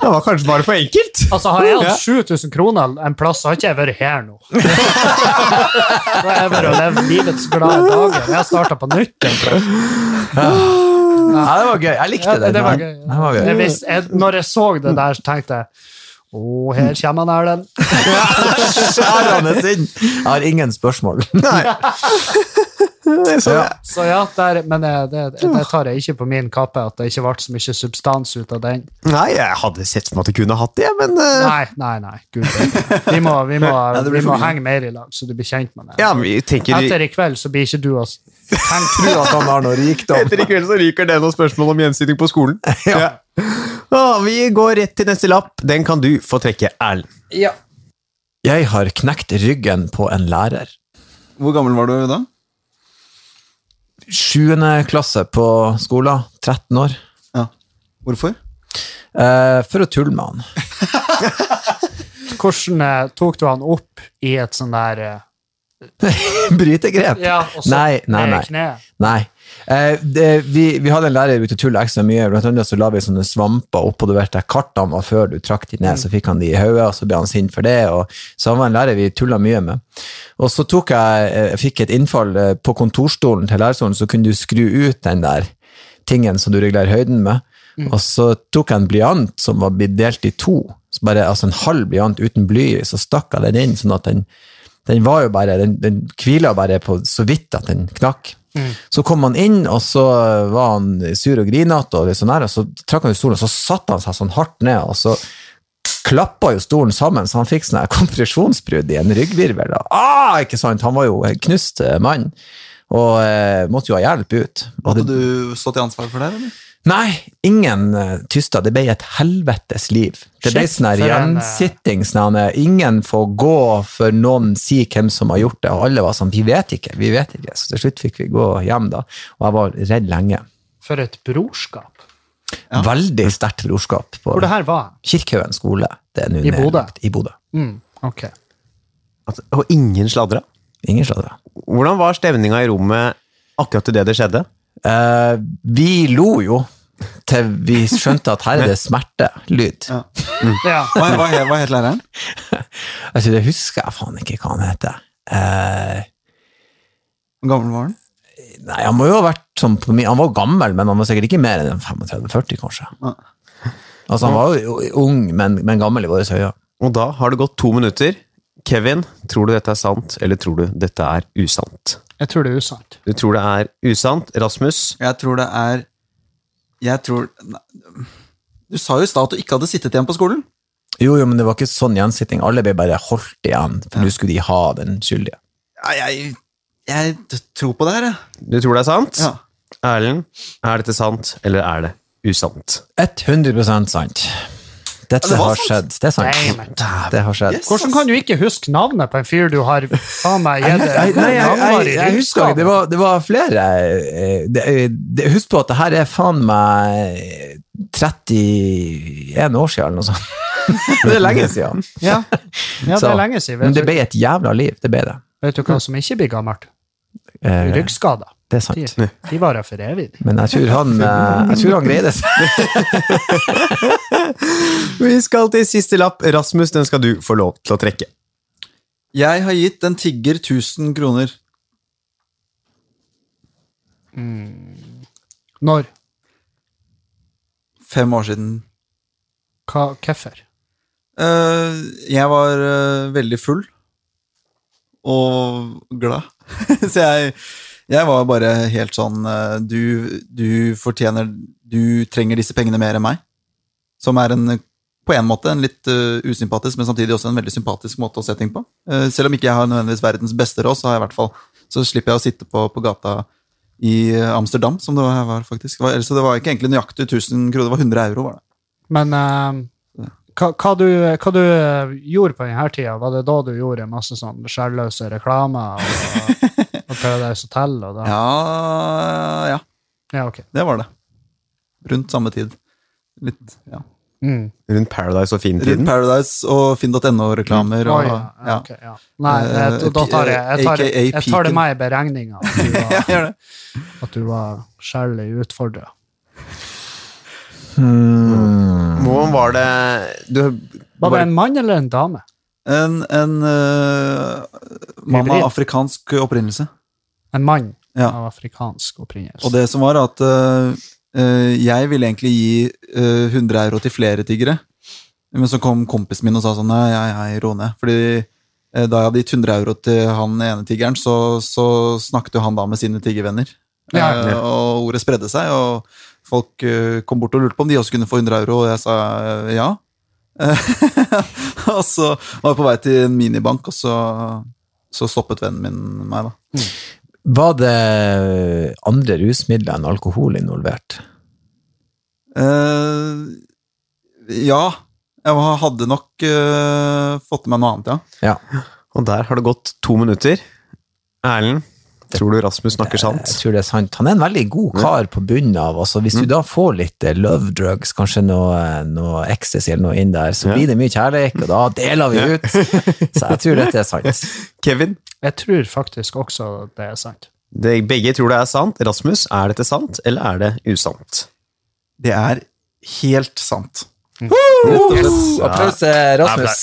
[SPEAKER 2] Det var kanskje bare for enkelt?
[SPEAKER 4] Altså, har jeg hatt 7000 kroner en plass, så har ikke jeg vært her nå. Da har jeg vært og levd livets glade dager. Jeg starta på nytt en plass.
[SPEAKER 3] Ja, det var gøy. Jeg likte
[SPEAKER 4] Ja,
[SPEAKER 3] det.
[SPEAKER 4] det var gøy.
[SPEAKER 3] Det var
[SPEAKER 4] Jeg
[SPEAKER 3] gøy.
[SPEAKER 4] visste- jeg, når jeg så det der, så tenkte jeg Å, her kommer han Erlend.
[SPEAKER 3] Skjærende sinn! Jeg har ingen spørsmål.
[SPEAKER 2] sånn, Ja.
[SPEAKER 4] Så ja, der, men eh, det, det tar jeg ikke på min kappe, at det ikke ble så mye substans ut av den.
[SPEAKER 2] Nei, jeg hadde sett for meg at du kunne hatt det, men eh,
[SPEAKER 4] Nei, nei, nei. Gud, vi må, vi må,
[SPEAKER 5] det blir
[SPEAKER 4] vi må
[SPEAKER 5] for mye.
[SPEAKER 4] henge mer i lag, så du blir kjent med det.
[SPEAKER 2] ja, men jeg tenker
[SPEAKER 4] Etter i kveld så blir ikke du oss
[SPEAKER 3] Tror at han har noe rikdom.
[SPEAKER 2] Etter i kveld så ryker det noen spørsmål om gjensitting på skolen. Ja. Ah, vi går rett til neste lapp. Den kan du få trekke, Erlend.
[SPEAKER 3] Jeg har knekt ryggen på en lærer.
[SPEAKER 5] Hvor gammel var du da?
[SPEAKER 3] Sjuende klasse på skolen, 13 år,
[SPEAKER 5] Ja. Hvorfor?
[SPEAKER 3] eh, for å tulle med han.
[SPEAKER 4] Hvordan eh, tok du han opp i et sånn der eh,
[SPEAKER 3] Brytegrep!
[SPEAKER 4] Ja, og så
[SPEAKER 3] Nei,
[SPEAKER 4] ned
[SPEAKER 3] nei,
[SPEAKER 4] i
[SPEAKER 3] nei.
[SPEAKER 4] kneet?
[SPEAKER 3] Nei. Eh, det, vi, vi hadde en lærer vi tulla ekstra mye. Blant annet så la vi sånne svamper oppå du vet, der kartene var før du trakk de ned. Så fikk han de i hodet, og så ble han sint for det. Og, så han var en lærer vi tulla mye med. Og så tok jeg, eh, fikk et innfall eh, på kontorstolen til lærerstolen, så kunne du skru ut den der tingen som du regulerer høyden med. Og så tok jeg en blyant som var blitt delt i to. Så bare, altså en halv blyant uten bly, så stakk jeg den inn, sånn at den, den var jo bare, den, den hvila bare på så vidt at den knakk. Så kom han inn, og så var han sur og grinete, og litt sånn her, og så trakk han ut stolen, og så satte han seg sånn hardt ned, og så klappa jo stolen sammen, så han fikk sånn her kompresjonsbrudd i en ryggvirvel. da. Ah, ikke sant? Han var jo en knust eh, mann, og eh, måtte jo ha hjelp ut. Og
[SPEAKER 5] Hadde
[SPEAKER 3] det,
[SPEAKER 5] du stått til ansvar for det? eller?
[SPEAKER 3] Nei, ingen eh, tysta. Det ble et helvetes liv. Det ble
[SPEAKER 4] Shit,
[SPEAKER 3] sånn her
[SPEAKER 4] for en, eh,
[SPEAKER 3] gjensitting. Sånn her, ingen får gå før noen sier hvem som har gjort det. Og alle var sånn, vi vet ikke, vi vet ikke. Så til slutt fikk vi gå hjem, da. Og jeg var redd lenge.
[SPEAKER 4] For et brorskap.
[SPEAKER 3] Veldig sterkt brorskap på
[SPEAKER 4] Hvor det her var?
[SPEAKER 3] Kirkehaugen skole. Det er nå
[SPEAKER 4] I
[SPEAKER 3] nedlagt.
[SPEAKER 4] Bodø?
[SPEAKER 3] I Bodø.
[SPEAKER 4] Mm, ok.
[SPEAKER 2] At- Altså, Og ingen sladra.
[SPEAKER 3] Ingen sladra.
[SPEAKER 2] Hvordan var stemninga i rommet akkurat idet det skjedde?
[SPEAKER 3] Eh, vi lo jo til vi skjønte at her er det smertelyd.
[SPEAKER 5] Ja.
[SPEAKER 4] Ja.
[SPEAKER 5] Hva, hva, he- hva het læreren?
[SPEAKER 3] Altså, det husker jeg faen ikke hva han heter. Eh,
[SPEAKER 5] Hvor gammel var han?
[SPEAKER 3] Nei, han må jo ha vært sånn på min Han var jo gammel, men han var sikkert ikke mer enn 35-40, kanskje.
[SPEAKER 5] Nei.
[SPEAKER 3] Altså, han var jo ung, men, men gammel i våre øyne.
[SPEAKER 2] Og da har det gått to minutter. Kevin, tror du dette er sant, eller tror du dette er usant?
[SPEAKER 4] Jeg tror det er usant.
[SPEAKER 2] Du tror det er usant, Rasmus?
[SPEAKER 5] Jeg tror det er Jeg tror Nei. Du sa jo i stad at du ikke hadde sittet igjen på skolen.
[SPEAKER 3] Jo, jo, men det var ikke sånn gjensitting. Alle ble bare holdt igjen, for nå skulle de ha den skyldige.
[SPEAKER 5] Ja, jeg, jeg tror på det her, jeg.
[SPEAKER 2] Du tror det er sant?
[SPEAKER 5] Ja.
[SPEAKER 2] Erlend, er dette sant, eller er det usant?
[SPEAKER 3] 100 sant. Dette
[SPEAKER 5] Ja, det var
[SPEAKER 3] har
[SPEAKER 5] sant.
[SPEAKER 3] skjedd. Det er sant. Det har skjedd.
[SPEAKER 5] Yes.
[SPEAKER 4] Hvordan kan du ikke huske navnet på en fyr du har faen meg
[SPEAKER 3] Jeg,
[SPEAKER 4] gitt
[SPEAKER 3] jeg,
[SPEAKER 4] en
[SPEAKER 3] nei, jeg, jeg,
[SPEAKER 4] langvarig
[SPEAKER 3] jeg husker ikke.
[SPEAKER 4] ruskade?
[SPEAKER 3] Det var, det var flere eh, det, det, Husk på at det her er faen meg 31 år siden, eller noe sånt. Det er lenge siden.
[SPEAKER 4] Ja. ja, det
[SPEAKER 3] Så.
[SPEAKER 4] er lenge siden.
[SPEAKER 3] Men
[SPEAKER 4] Vet,
[SPEAKER 3] det
[SPEAKER 4] du-
[SPEAKER 3] ble et jævla liv. Det ble det.
[SPEAKER 4] vet du hva som ikke blir gammelt?
[SPEAKER 3] Eh,
[SPEAKER 4] Ryggskader.
[SPEAKER 3] Det er
[SPEAKER 4] De,
[SPEAKER 3] sant.
[SPEAKER 4] de varer for evig. de.
[SPEAKER 3] Men jeg tror han, eh, jeg tror han greide seg.
[SPEAKER 2] Vi skal til siste lapp. Rasmus, den skal du få lov til å trekke.
[SPEAKER 5] Jeg har gitt en tigger 1000 kroner.
[SPEAKER 4] Når?
[SPEAKER 5] Fem år siden.
[SPEAKER 4] Hva, hvorfor?
[SPEAKER 5] Eh, jeg var eh, veldig full og glad. Så jeg, jeg var bare helt sånn eh, du, du fortjener Du trenger disse pengene mer enn meg. Som er en eh, på en måte en litt eh, usympatisk, men samtidig også en veldig sympatisk måte å se ting på. Eh, selv om ikke jeg har nødvendigvis verdens beste råd, så, har jeg i hvert fall, så slipper jeg å sitte på, på gata i eh, Amsterdam, som det var, var faktisk. Det var- Så det var ikke egentlig nøyaktig 1000 kroner, det var 100 euro. var det.
[SPEAKER 4] Men eh, hva, hva, du, hva du eh, gjorde på denne tida, var det da du gjorde masse sånn sjelløse reklamer og, og Paradise Hotel og da?
[SPEAKER 5] Ja, ja.
[SPEAKER 4] Ja, ok.
[SPEAKER 5] Det var det. Rundt samme tid. Litt, ja.
[SPEAKER 4] Mm.
[SPEAKER 2] Rundt Paradise og
[SPEAKER 5] Rundt
[SPEAKER 2] Finn-tiden.
[SPEAKER 5] Paradise og finn.no-reklamer.
[SPEAKER 4] Å,
[SPEAKER 5] Og,
[SPEAKER 4] ja, ja,
[SPEAKER 5] ja.
[SPEAKER 4] ok, ja. Nei,
[SPEAKER 5] Eh,
[SPEAKER 4] jeg, da tar jeg jeg tar,
[SPEAKER 5] AKA
[SPEAKER 4] jeg tar det
[SPEAKER 5] piken.
[SPEAKER 4] med i beregninga at du
[SPEAKER 5] Ja,
[SPEAKER 4] var,
[SPEAKER 5] gjør det.
[SPEAKER 4] at du var sjelelig utfordra.
[SPEAKER 2] Hvordan var det du,
[SPEAKER 4] Var det
[SPEAKER 2] var,
[SPEAKER 4] en mann eller en dame?
[SPEAKER 5] En, en eh, mann
[SPEAKER 4] Hybrid.
[SPEAKER 5] av afrikansk opprinnelse.
[SPEAKER 4] En mann
[SPEAKER 5] Ja.
[SPEAKER 4] av afrikansk opprinnelse.
[SPEAKER 5] Og det som var at eh, eh, jeg ville egentlig gi eh, 100 euro til flere tiggere. Men så kom kompisen min og sa sånn Nei, jeg, jeg ro ned. Fordi eh, da jeg hadde gitt 100 euro til han ene tiggeren, så, så snakket jo han da med sine tiggervenner.
[SPEAKER 4] Ja,
[SPEAKER 5] Eh, og ordet spredde seg, og folk eh, kom bort og lurte på om de også kunne få 100 euro, og jeg sa eh, ja. og så var jeg på vei til en minibank, og så, så stoppet vennen min meg, da.
[SPEAKER 3] Var det andre rusmidler enn alkohol involvert?
[SPEAKER 5] Eh, ja. Jeg hadde nok eh, fått med meg noe annet, ja.
[SPEAKER 3] Ja.
[SPEAKER 2] og der har det gått to minutter. Erlend, tror du Rasmus snakker sant?
[SPEAKER 3] Jeg tror det er sant. Han er en veldig god kar på bunnen av. Altså, hvis du da får litt eh, love drugs, kanskje noe, eh, noe ecstasy eller noe inn der, så
[SPEAKER 2] Ja.
[SPEAKER 3] blir det mye kjærlighet, og da deler vi ut. Så jeg tror dette er sant.
[SPEAKER 2] Kevin,
[SPEAKER 4] Jeg tror faktisk også det er sant.
[SPEAKER 2] det, begge tror det er sant. Rasmus, er dette sant, eller er det usant?
[SPEAKER 5] Det er helt sant.
[SPEAKER 3] Yes. Applaus til Rasmus.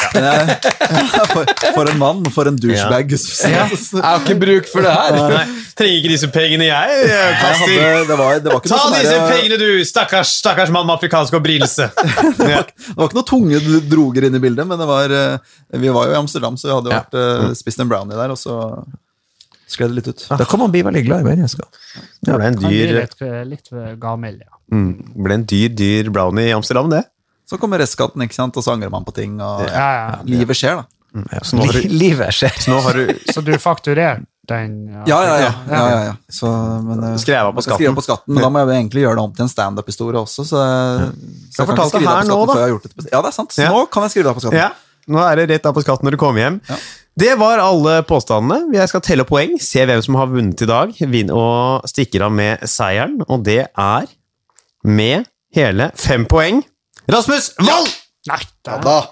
[SPEAKER 5] For, for en mann, for en douchebag.
[SPEAKER 3] Ja. Jeg har ikke bruk for det her.
[SPEAKER 2] Nei, trenger ikke disse pengene jeg, jeg
[SPEAKER 5] Jeg hadde, det, var, det var ikke noe sånn der-
[SPEAKER 2] du, stakkars, stakkars mann med afrikansk opprinnelse.
[SPEAKER 5] Det var ikke noe tunge d- droger inne i bildet, men det var, eh, vi var jo i Amsterdam, så vi hadde jo
[SPEAKER 3] Ja. Mm.
[SPEAKER 5] vært, eh, spist en brownie der, og så skled det litt ut.
[SPEAKER 3] Da kan man bli veldig glad i mennesker.
[SPEAKER 2] Det ble en
[SPEAKER 4] Kan bli
[SPEAKER 2] dyr,
[SPEAKER 4] litt, litt gammel, ja.
[SPEAKER 2] mm, ble en dyr, dyr brownie i Amsterdam, det.
[SPEAKER 5] Så kommer restskatten, ikke sant, og så angrer man på ting, og ja,
[SPEAKER 4] ja, ja.
[SPEAKER 5] livet skjer, da.
[SPEAKER 2] Så nå har
[SPEAKER 3] Li-
[SPEAKER 2] du,
[SPEAKER 3] Livet skjer.
[SPEAKER 2] så nå har du
[SPEAKER 4] Så du fakturerte den?
[SPEAKER 5] Ja, ja, ja. ja, ja, ja. Så, men, eh,
[SPEAKER 2] Skrev av på
[SPEAKER 5] jeg skal skrive
[SPEAKER 2] skatten.
[SPEAKER 5] på skatten. Men da må jeg jo egentlig gjøre det om til en standup-historie også. Så,
[SPEAKER 2] Du
[SPEAKER 5] så
[SPEAKER 2] har
[SPEAKER 5] jeg kan ikke
[SPEAKER 2] fortalt det
[SPEAKER 5] skrive det
[SPEAKER 2] her nå,
[SPEAKER 5] av på skatten
[SPEAKER 2] da.
[SPEAKER 5] før jeg har gjort det. til- Ja, det er sant. Så
[SPEAKER 2] Ja.
[SPEAKER 5] nå kan jeg skrive det av på skatten.
[SPEAKER 2] Ja, nå er det rett av på skatten når du kommer hjem.
[SPEAKER 5] Ja.
[SPEAKER 2] Det var alle påstandene. Jeg skal telle poeng, se hvem som har vunnet i dag, vin- og stikker av med seieren, og det er med hele fem poeng. Rasmus Wold!
[SPEAKER 4] Nei, det,
[SPEAKER 5] Da.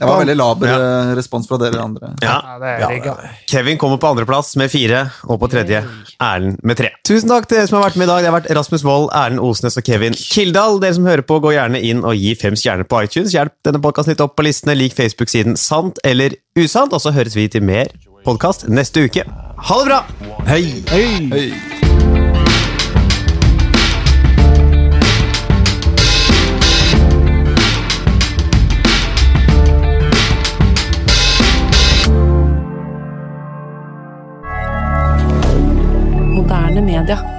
[SPEAKER 5] Det var veldig laber
[SPEAKER 2] Ja.
[SPEAKER 5] eh, respons fra dere andre.
[SPEAKER 2] Ja,
[SPEAKER 4] ja, det er rigga.
[SPEAKER 2] Kevin kommer på andreplass med fire, og på tredje Erlend med tre. Tusen takk til dere som har vært med i dag. Det har vært Rasmus Wold, Erlend Osnes og Kevin Kildahl. Dere som hører på, gå gjerne inn og gi fem stjerner på iTunes. Hjelp denne podkasten litt opp på listene. Lik Facebook-siden Sant eller usant, og så høres vi til mer podkast neste uke. Ha det bra!
[SPEAKER 3] Hei!
[SPEAKER 4] Hei!
[SPEAKER 6] Moderne media.